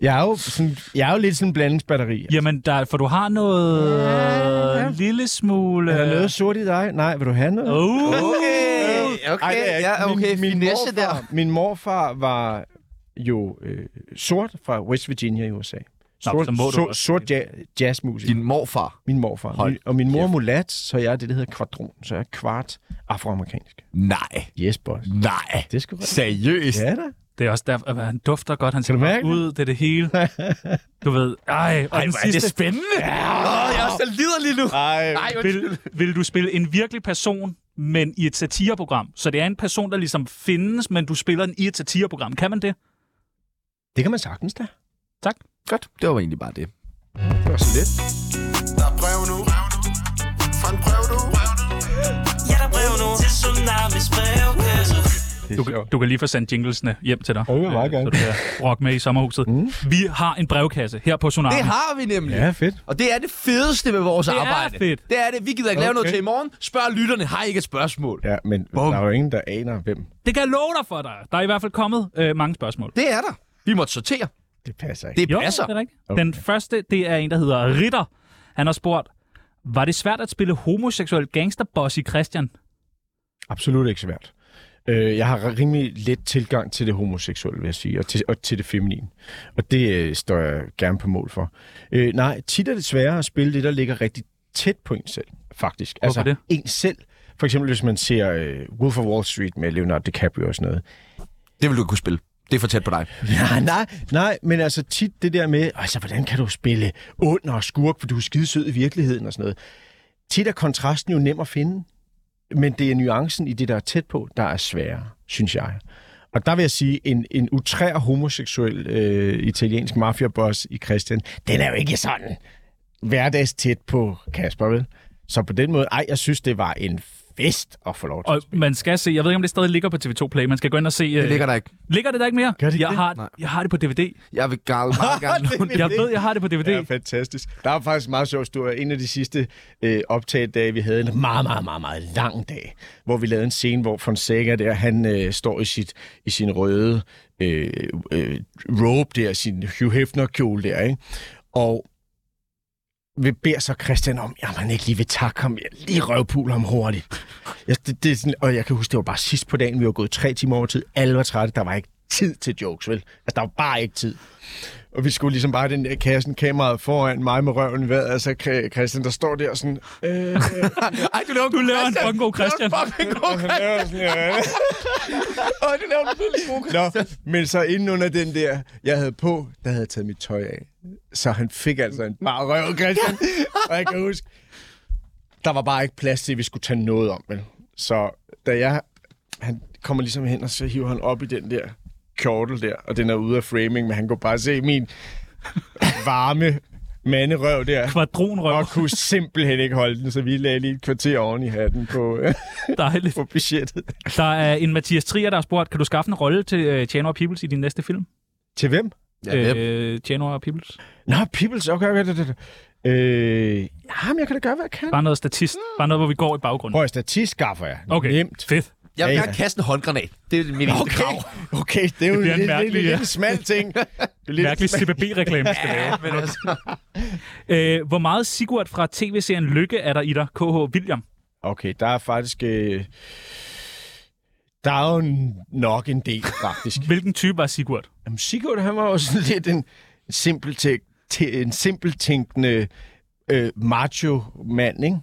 Speaker 4: jeg, er jo sådan, jeg er jo lidt sådan en blandingsbatteri.
Speaker 2: Jamen, der, for du har noget... Ja, ja. Lille smule...
Speaker 4: Er der noget sort i dig? Nej, vil du have noget?
Speaker 2: Oh.
Speaker 1: Okay, okay,
Speaker 4: Ej, det er ikke-
Speaker 1: ja, okay, finesse der.
Speaker 4: morfar, Min morfar var jo øh, sort fra West Virginia i USA.
Speaker 2: Nå,
Speaker 4: Sort,
Speaker 2: så må du
Speaker 4: sort,
Speaker 2: også.
Speaker 4: sort ja, jazzmusik.
Speaker 1: Din morfar.
Speaker 4: Min morfar.
Speaker 1: Hold
Speaker 4: Min, og min mor er mulat, så jeg er det, der hedder kvadron. Så jeg er kvart afroamerikansk.
Speaker 1: Nej,
Speaker 4: Yes, boss.
Speaker 1: nej.
Speaker 4: Det skal rigtigt.
Speaker 1: Seriøst?
Speaker 4: Ja da.
Speaker 2: Det er også derfor, at han dufter godt. Han ser
Speaker 4: du
Speaker 2: godt
Speaker 4: mærke det?
Speaker 2: ud. Det er det hele. Du ved... Ej, og
Speaker 1: Ej,
Speaker 2: den
Speaker 1: hvor er det
Speaker 2: sidste...
Speaker 1: spændende. Ja. Oh, jeg er også lider lige nu.
Speaker 4: Ej,
Speaker 1: Nej,
Speaker 2: vil, vil du spille en virkelig person, men i et satireprogram? Så det er en person, der ligesom findes, men du spiller den i et satireprogram. Kan man det?
Speaker 4: det kan man sagtens da.
Speaker 1: Godt, det var egentlig bare det.
Speaker 4: Det var så lidt.
Speaker 7: Der er brev nu. Fra en brev nu.
Speaker 8: Ja, der er brev nu til Tsunamis brevkasse.
Speaker 4: Det
Speaker 2: Du,
Speaker 4: er
Speaker 2: kan-
Speaker 4: sjovt.
Speaker 2: du kan lige få sendt jinglesene hjem til dig.
Speaker 4: det vil jeg meget
Speaker 2: øh,
Speaker 4: gerne.
Speaker 2: Så du kan rock med i sommerhuset. Mm. Vi har en brevkasse her på Tsunami.
Speaker 1: Det har vi nemlig.
Speaker 4: Ja, fedt.
Speaker 1: Og det er det fedeste med vores
Speaker 2: Det er
Speaker 1: arbejde.
Speaker 2: fedt.
Speaker 1: Det er det. Vi gider ikke okay. lave noget
Speaker 4: Okay.
Speaker 1: til i morgen. Spørg lytterne. Har I ikke et spørgsmål?
Speaker 4: Ja, men
Speaker 1: Bum.
Speaker 4: der er jo ingen, der aner, hvem.
Speaker 2: Det kan jeg love dig for dig. Der er i hvert fald kommet øh, mange spørgsmål.
Speaker 1: Det er der. Vi måtte sortere.
Speaker 4: Det passer ikke.
Speaker 1: Det
Speaker 2: Jo,
Speaker 1: passer.
Speaker 2: det er rigtigt. Okay.
Speaker 4: Okay.
Speaker 2: Den første, det er en, der hedder Ritter. Han har spurgt, var det svært at spille homoseksuel gangsterboss i Christian?
Speaker 4: Absolut ikke svært. Øh, jeg har rimelig let tilgang til det homoseksuelle, vil jeg sige, og til, og til det feminine. Og det øh, står jeg gerne på mål for. Øh, nej, tit er det sværere at spille det, der ligger rigtig tæt på en selv, faktisk. Altså,
Speaker 2: Hvorfor det?
Speaker 4: en selv. For eksempel, hvis man ser øh, Wolf of Wall Street med Leonardo DiCaprio og sådan noget.
Speaker 1: Det vil du kunne spille. Det er for tæt på dig.
Speaker 4: Ja, nej, nej, men altså tit det der med, altså hvordan kan du spille ond og skurk, for du er skidesød i virkeligheden og sådan noget. Tit er kontrasten jo nem at finde, men det er nuancen i det, der er tæt på, der er sværere, synes jeg. Og der vil jeg sige, en, en utrær homoseksuel øh, italiensk mafiaboss i Christian, den er jo ikke sådan hverdags tæt på Kasper, vel? Så på den måde, ej, jeg synes, det var en fest at få lov til.
Speaker 2: Og man skal se, jeg ved ikke, om det stadig ligger på TV2 Play, man skal gå ind og se... øh,
Speaker 1: Det ligger der ikke.
Speaker 2: Ligger det der ikke mere?
Speaker 1: Gør det
Speaker 2: jeg,
Speaker 1: det?
Speaker 2: Har, jeg har det på DVD.
Speaker 1: Jeg vil gerne, meget gerne låne
Speaker 2: Jeg ved, jeg har det på DVD.
Speaker 4: Ja, fantastisk. Der var faktisk en meget sjov historie. En af de sidste øh, optagedage, vi havde en meget, meget, meget, meget lang dag, hvor vi lavede en scene, hvor Fonseca der, han øh, står i, sit, i sin røde øh, øh, robe der, sin Hugh Hefner-kjole der, ikke? Og vi beder så Christian om, at man ikke lige vil takke ham, jeg lige røvpule ham hurtigt. Jeg, det, det, er sådan, og jeg kan huske, det var bare sidst på dagen, vi var gået tre timer over tid, alle var trætte, der var ikke tid til jokes, vel? Altså, der var bare ikke tid. Og vi skulle ligesom bare den der kassen, kameraet foran mig med røven i vejret, altså Kr- Christian, der står der sådan... Øh, øh,
Speaker 2: Ej, du laver, du laver en fucking god Christian.
Speaker 1: Du laver en fucking god
Speaker 4: Christian.
Speaker 1: Åh, du laver en virkelig god
Speaker 4: Nå, men så inden under den der, jeg havde på, der havde jeg taget mit tøj af. Så han fik altså en bare røv, Christian. og jeg kan huske, der var bare ikke plads til, at vi skulle tage noget om, vel? Så da jeg... Han kommer ligesom hen, og så hiver han op i den der kjortel der, og den er ude af framing, men han kunne bare se min varme manderøv der.
Speaker 2: Kvadronrøv.
Speaker 4: Og kunne simpelthen ikke holde den, så vi lagde lige et kvarter oven i hatten på, øh,
Speaker 2: Dejligt.
Speaker 4: på budgettet.
Speaker 2: Der er en Mathias Trier, der har spurgt, kan du skaffe en rolle til uh, Chano og Peoples i din næste film?
Speaker 4: Til hvem?
Speaker 2: øh, Chano og Peoples.
Speaker 4: Nå, Peoples, okay, okay, det, det, det. Øh, jamen, jeg kan da gøre, hvad jeg kan.
Speaker 2: Bare noget statist. Bare noget, hvor vi går i baggrunden.
Speaker 4: Prøv at statist skaffer jeg.
Speaker 2: Okay, Nemt. fedt.
Speaker 1: Jeg vil
Speaker 4: Ja,
Speaker 1: gerne
Speaker 4: ja.
Speaker 1: kaste en håndgranat. Det er mit eneste
Speaker 4: Okay.
Speaker 1: krav.
Speaker 4: Okay, det er jo
Speaker 2: bliver
Speaker 4: det
Speaker 2: en
Speaker 4: lidt,
Speaker 2: mærkelig,
Speaker 4: mærkelig, lidt,
Speaker 2: ja.
Speaker 4: lidt en smal ting. Det er lidt
Speaker 2: Mærkelig
Speaker 4: en smal-
Speaker 2: CBB-reklame, skal det være.
Speaker 1: men altså...
Speaker 2: Øh, hvor meget Sigurd fra tv-serien Lykke er der i dig, KH William?
Speaker 4: Okay, der er faktisk... Øh, der er jo n- nok en del, faktisk.
Speaker 2: Hvilken type var Sigurd?
Speaker 4: Jamen, Sigurd, han var jo sådan lidt en simpeltæk, te, en simpeltænkende øh, macho-mand, ikke?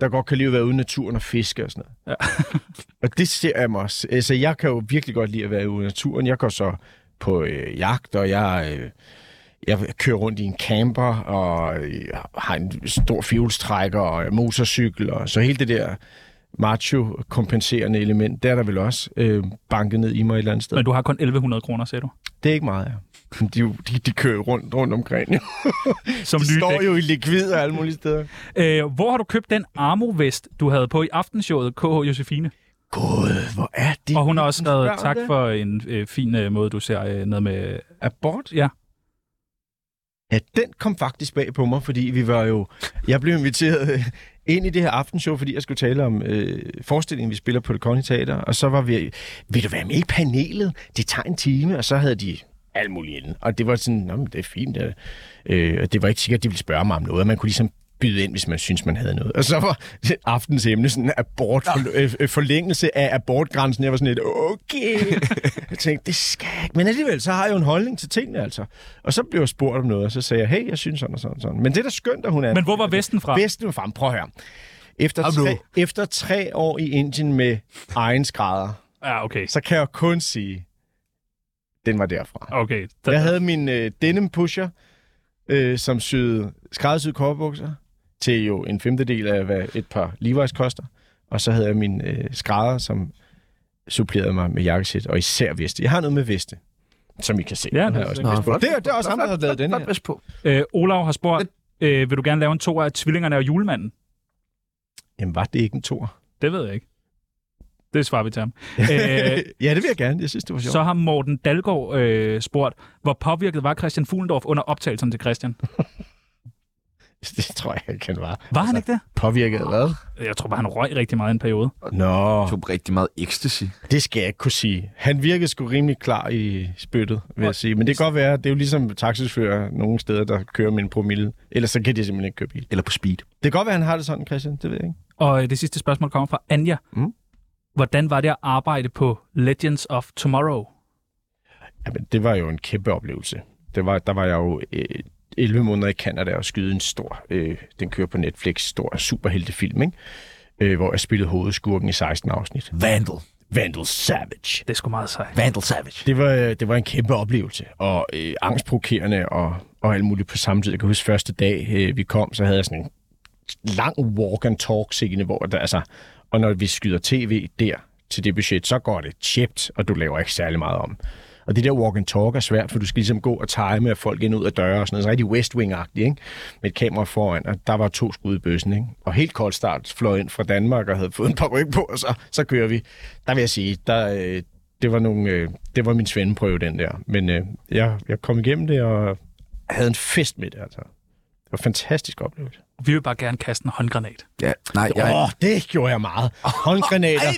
Speaker 4: der godt kan lide at være ude i naturen og fiske og sådan noget. Ja. og det ser jeg mig også. Altså, jeg kan jo virkelig godt lide at være ude i naturen. Jeg går så på øh, jagt, og jeg, øh, jeg kører rundt i en camper, og jeg har en stor fjolstrækker og motorcykel, og så hele det der macho-kompenserende element, der er der vel også øh, banket ned i mig et eller andet sted.
Speaker 2: Men du har kun 1100 kroner, sagde du.
Speaker 4: Det er ikke meget, ja. Men De, er jo- de, de kører jo rundt, rundt omkring. jo.
Speaker 2: Som
Speaker 4: de
Speaker 2: nye
Speaker 4: står
Speaker 2: dæk.
Speaker 4: jo i likvid og alle mulige steder.
Speaker 2: Øh, hvor har du købt den armovest, du havde på i aftenshowet KH Josefine?
Speaker 4: God, hvor er det?
Speaker 2: Og hun har også skrevet
Speaker 4: spørger
Speaker 2: tak
Speaker 4: det.
Speaker 2: for en øh, fin øh, måde, du ser øh, noget med...
Speaker 4: Abort?
Speaker 2: Ja.
Speaker 4: Ja, den kom faktisk bag på mig, fordi vi var jo... Jeg blev inviteret øh, ind i det her aftenshow, fordi jeg skulle tale om øh, forestillingen, vi spiller på det Kongelige Teater. Og så var vi... Vil du være med i panelet? Det tager en time. Og så havde de alt muligt inden. Og det var sådan, Nå, men det er fint. Det, øh, og det var ikke sikkert, at de ville spørge mig om noget. og Man kunne ligesom byde ind, hvis man synes man havde noget. Og så var aftens emne sådan abort, for, øh, øh, forlængelse af abortgrænsen. Jeg var sådan lidt, okay. Jeg tænkte, det skal jeg ikke. Men alligevel, så har jeg jo en holdning til tingene, altså. Og så blev jeg spurgt om noget, og så sagde jeg, hey, jeg synes sådan og sådan og sådan. Men det er da skønt, at hun er...
Speaker 2: Men hvor var vesten fra?
Speaker 4: Vesten var frem. Prøv at høre. Efter
Speaker 1: Kom nu.
Speaker 4: tre, efter tre år i Indien med egen skrædder,
Speaker 2: Ja, okay.
Speaker 4: så kan jeg kun sige, den var derfra.
Speaker 2: Okay.
Speaker 4: Jeg havde min øh, denim pusher, øh, som syede skræddersyde korpbukser til jo en femtedel af, hvad et par Levi's koster. Og så havde jeg min øh, skrædder, som supplerede mig med jakkesæt, og især veste. Jeg har noget med veste, som I kan se.
Speaker 2: Ja,
Speaker 4: Den har
Speaker 2: det-
Speaker 4: jeg også
Speaker 2: Nå,
Speaker 4: en vest på.
Speaker 1: flot.
Speaker 4: det, er- det er også ham, der har lavet den her.
Speaker 1: bedst på.
Speaker 2: Øh, Olav har spurgt, øh, vil du gerne lave en to af tvillingerne og julemanden?
Speaker 4: Jamen, var det ikke en tor?
Speaker 2: Det ved jeg ikke. Det svarer vi til ham. Øh,
Speaker 4: ja, det vil jeg gerne. Jeg synes, det var sjovt.
Speaker 2: så har Morten Dalgaard øh, spurgt, hvor påvirket var Christian Fuglendorf under optagelsen til Christian?
Speaker 4: Det tror jeg ikke, han var.
Speaker 2: Var han ikke det?
Speaker 4: Påvirket af hvad?
Speaker 2: Jeg tror bare, han røg rigtig meget i en periode.
Speaker 4: Nå,
Speaker 1: Jeg tog rigtig meget ecstasy.
Speaker 4: det skal jeg ikke kunne sige. Han virkede sgu rimelig klar i spyttet, vil jeg sige. Men det kan godt være, det er jo ligesom taxichauffører nogle steder, der kører med en promille. Ellers så kan de simpelthen ikke køre bil.
Speaker 1: Eller på speed.
Speaker 4: Det kan godt være, han har det sådan, Christian. Det ved jeg ikke.
Speaker 2: Og øh, det sidste spørgsmål kommer fra Anja.
Speaker 4: Mm.
Speaker 2: Hvordan var det at arbejde på Legends of Tomorrow?
Speaker 4: Jamen, det var jo en kæmpe oplevelse. Det var, der var jeg jo øh, 11 måneder i Canada og skyde en stor, øh, den kører på Netflix, stor superheltefilm, ikke? Øh, hvor jeg spillede hovedskurken i 16 afsnit.
Speaker 1: Vandal.
Speaker 4: Vandal Savage.
Speaker 2: Det er sgu meget sejt.
Speaker 1: Vandal Savage.
Speaker 4: Det var, øh, det var en kæmpe oplevelse, og øh, angstprovokerende og, og alt muligt på samme tid. Jeg kan huske første dag, øh, vi kom, så havde jeg sådan en lang walk-and-talk-scene, hvor der, altså, og når vi skyder tv der til det budget, så går det tjept, og du laver ikke særlig meget om. Og det der walk-and-talk er svært, for du skal ligesom gå og time at folk ind og ud af døre og sådan noget. Så rigtig West Wing-agtigt, ikke? Med et kamera foran, og der var to skud i bøssen, ikke? Og helt kold start fløj ind fra Danmark og havde fået en par ryg på, og så, så kører vi. Der vil jeg sige, der, øh, det var, nogle, øh, det var min svendeprøve, den der. Men øh, jeg, jeg kom igennem det og havde en fest med det, altså. Det var en fantastisk oplevelse.
Speaker 2: Vi vil bare gerne kaste en håndgranat.
Speaker 1: Ja, nej,
Speaker 4: jeg... Åh, det gjorde jeg meget. Håndgranater.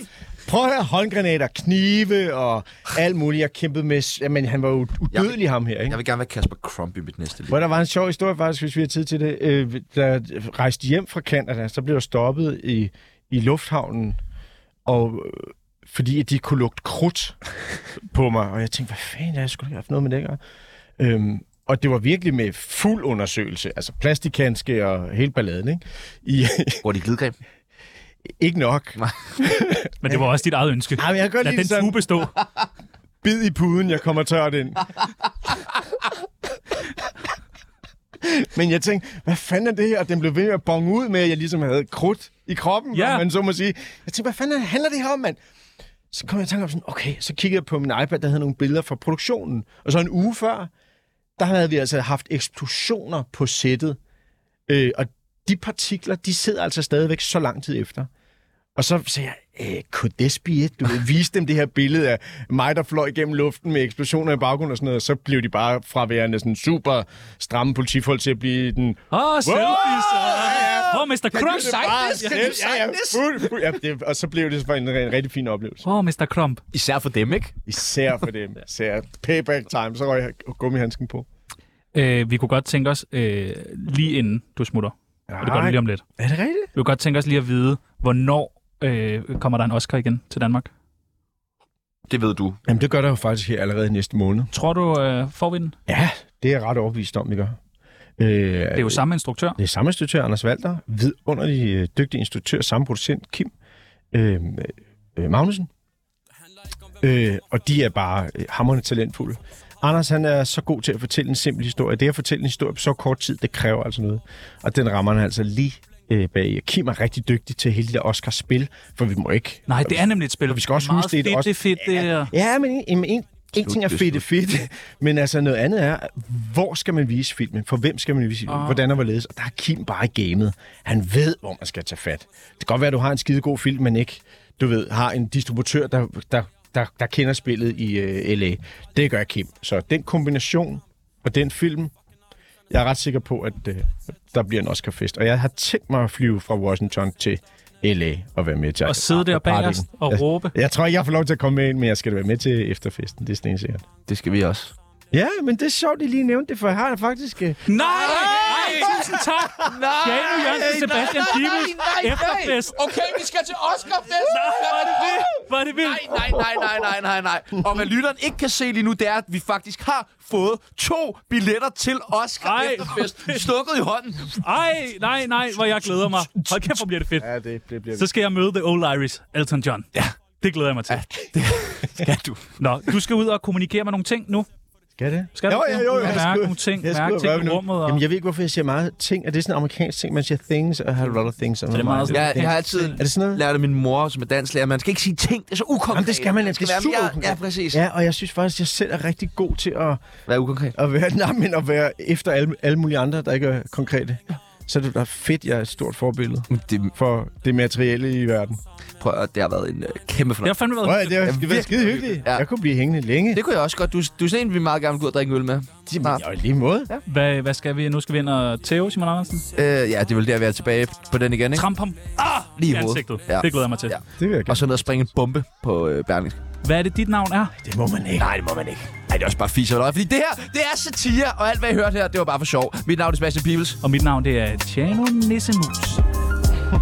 Speaker 4: Prøv at høre, håndgranater, knive og alt muligt. Jeg kæmpede med... Men han var jo udødelig, ham her, ikke?
Speaker 1: Jeg vil gerne være Kasper Crump i mit næste liv.
Speaker 4: Hvor der var en sjov historie faktisk, hvis vi har tid til det. Øh, da jeg rejste hjem fra Canada, så blev jeg stoppet i, i lufthavnen, og øh, fordi at de kunne lugte krudt på mig. Og jeg tænkte, hvad fanden er jeg skulle have haft noget med det at gøre? Øhm, og det var virkelig med fuld undersøgelse, altså plastikhandske og hele balladen, ikke? I,
Speaker 1: Hvor de glidegreb?
Speaker 4: ikke nok.
Speaker 2: Men det var også dit eget ønske.
Speaker 4: Ej, men jeg kan godt
Speaker 2: Lad
Speaker 4: lide
Speaker 2: den
Speaker 4: sådan-
Speaker 2: tube stå.
Speaker 4: Bid i puden, jeg kommer tørt ind. Men jeg tænkte, hvad fanden er det her? Og den blev ved med at bonge ud med, at jeg ligesom havde krudt i kroppen,
Speaker 2: Ja.
Speaker 4: ja. man så må sige. Jeg tænkte, hvad fanden handler det her om, mand? Så kom jeg i tanke om sådan, okay, så kiggede jeg på min iPad, der havde nogle billeder fra produktionen. Og så en uge før, der havde vi altså haft eksplosioner på sættet. Øh, og de partikler, de sidder altså stadigvæk så lang tid efter. Og så sagde jeg, øh, could this be it? Du ved, viste dem det her billede af mig, der fløj gennem luften med eksplosioner i baggrunden og sådan noget, og så blev de bare fra at være næsten super stramme politifolk til at blive den...
Speaker 2: Åh, oh, selfies. Åh, oh, Mr. Crump.
Speaker 4: Ja, ja, fuld, fuld, ja, det, og så blev det faktisk en, en rigtig fin oplevelse.
Speaker 2: Åh, oh, Mr. Crump.
Speaker 1: Især for dem, ikke?
Speaker 4: Især for dem. Især payback time, så røg jeg gummihandsken på.
Speaker 2: Øh, vi kunne godt tænke os, øh, lige inden du smutter, og det gør du
Speaker 4: Nej.
Speaker 2: lige om lidt,
Speaker 4: Er det rigtigt?
Speaker 2: vi kunne godt tænke os lige at vide, hvornår øh, kommer der en Oscar igen til Danmark?
Speaker 1: Det ved du.
Speaker 4: Jamen, det gør der jo faktisk her allerede næste måned.
Speaker 2: Tror du, øh, får vi den? Det
Speaker 4: Ja, det er jeg ret overbevist om, vi gør. Øh,
Speaker 2: er jo samme instruktør.
Speaker 4: Det er samme instruktør, Anders Walter. Vidunderlig øh, dygtig instruktør, samme producent, Kim øh, øh, Magnussen. Øh, og de er bare øh, hammerne talentfulde. Anders han er så god til at fortælle en simpel historie. Det at fortælle en historie på så kort tid, det kræver altså noget. Og den rammer han altså lige øh, bag. Kim er rigtig dygtig til hele det der Oscars-spil, for vi må ikke...
Speaker 2: Nej, det er nemlig et spil.
Speaker 4: Vi skal også
Speaker 2: Meget
Speaker 4: huske, det er et
Speaker 2: fedt,
Speaker 4: også-
Speaker 2: det er fedt, det er...
Speaker 4: Ja, men en, en, en, en ting er
Speaker 1: det er
Speaker 4: fedt, fedt, men altså noget andet er, hvor skal man vise filmen? For hvem skal man vise filmen?
Speaker 2: Ah.
Speaker 4: Hvordan og hvorledes? Og der er Kim bare i gamet. Han ved, hvor man skal tage fat. Det kan godt være, at du har en skidegod film, men ikke, du ved, har en distributør, der, der, der, der kender spillet i øh, L.A. Det gør Kim. Så den kombination og den film, jeg er ret sikker på, at øh, der bliver en Oscar-fest. Og jeg har tænkt mig at flyve fra Washington til L.A. og være med til
Speaker 2: Og sidde der
Speaker 4: partyen.
Speaker 2: bagerst og
Speaker 4: Jeg-
Speaker 2: råbe.
Speaker 4: jeg tror ikke, jeg får lov til at komme med ind, men jeg skal da være med til efterfesten. Det er sådan sikkert.
Speaker 1: Det skal vi også.
Speaker 4: Ja, men det er sjovt, at I lige nævnte det, for jeg har det faktisk... øh,
Speaker 2: Nej! Nej! Tusind tak! Janu Jørgensen, Sebastian Pibels efterfest.
Speaker 1: Okay, vi skal til Oscarfest!
Speaker 2: Var det vildt? Var det vildt?
Speaker 1: Nej, nej, nej, nej, nej, nej, nej. Og hvad lytteren ikke kan se lige nu, det er, at vi faktisk har fået to billetter til Oscar
Speaker 2: Ej.
Speaker 1: efterfest. Stukket i hånden.
Speaker 2: Ej, nej, nej, hvor jeg glæder mig. Hold kæft, hvor bliver det fedt.
Speaker 4: Ja, det, det bliver...
Speaker 2: Så skal jeg møde The Old Iris, Elton John. Ja. Det glæder jeg mig til.
Speaker 1: Ja, du.
Speaker 2: Nå, du skal ud og kommunikere med nogle ting nu.
Speaker 4: Skal det?
Speaker 2: Skal du
Speaker 4: jo,
Speaker 2: ikke?
Speaker 4: jo, jo, jo.
Speaker 2: Du kan
Speaker 4: jeg
Speaker 2: mærke
Speaker 4: skulle-
Speaker 2: nogle ting,
Speaker 4: jeg
Speaker 2: mærke
Speaker 4: skulle
Speaker 2: ting
Speaker 4: røre
Speaker 2: i
Speaker 4: ved nogle-
Speaker 2: rummet og-
Speaker 4: Jamen, jeg ved ikke, hvorfor jeg siger meget ting. Er det sådan en amerikansk ting? Man siger things, og har a lot of things. Så
Speaker 2: det er meget sådan-
Speaker 1: Jeg, jeg har altid
Speaker 4: Er det sådan noget?
Speaker 1: lært af min mor, som er danslærer, man skal ikke sige ting. Det er så ukonkret.
Speaker 4: Jamen, det skal man.
Speaker 1: Det skal
Speaker 4: Det er
Speaker 1: være
Speaker 4: super
Speaker 1: mere-
Speaker 4: ukonkret.
Speaker 1: Ja, præcis.
Speaker 4: Ja, og jeg synes faktisk, at jeg selv er rigtig god til at,
Speaker 1: Vær ukonkret.
Speaker 4: at, være, nej, men at være efter alle, alle mulige andre, der ikke er konkrete. Så er det da fedt, jeg er et stort forbillede
Speaker 1: Det,
Speaker 4: for det materielle i verden.
Speaker 1: prøv at, høre, det har været en øh, kæmpe
Speaker 2: Jeg har
Speaker 1: fornøjelse.
Speaker 2: fandme været...
Speaker 4: Prøv, at- det
Speaker 1: Ja,
Speaker 4: har det var
Speaker 1: virkelig
Speaker 4: skide hyggeligt.
Speaker 1: Ja.
Speaker 4: Jeg kunne blive hængende længe.
Speaker 1: Det kunne jeg også godt. Du, du er sådan en, vi meget gerne vil gå ud og drikke en øl med. Snart.
Speaker 4: Ja, i lige måde.
Speaker 2: Hvad, hvad skal vi? Nu skal vi ind og tæve, Simon Andersen.
Speaker 1: Øh, ja, det er vel der, vi er tilbage på den igen, ikke?
Speaker 2: Tramp ham
Speaker 1: Lige
Speaker 2: i
Speaker 1: i hovedet.
Speaker 2: ansigtet.
Speaker 1: Ja.
Speaker 2: Det glæder jeg mig til.
Speaker 1: Ja.
Speaker 4: Det vil jeg
Speaker 1: Og så ned og springe en bombe på øh, Berlingske.
Speaker 2: Hvad er det, dit navn er?
Speaker 4: Det må man ikke.
Speaker 1: Nej, det må man ikke. Nej, det er også bare fisk og løg. Fordi det her, det er satire, og alt, hvad I hørte her, det var bare for sjov. Mit navn er Sebastian Peebles.
Speaker 2: Og mit navn, det er Tjano Nissemus.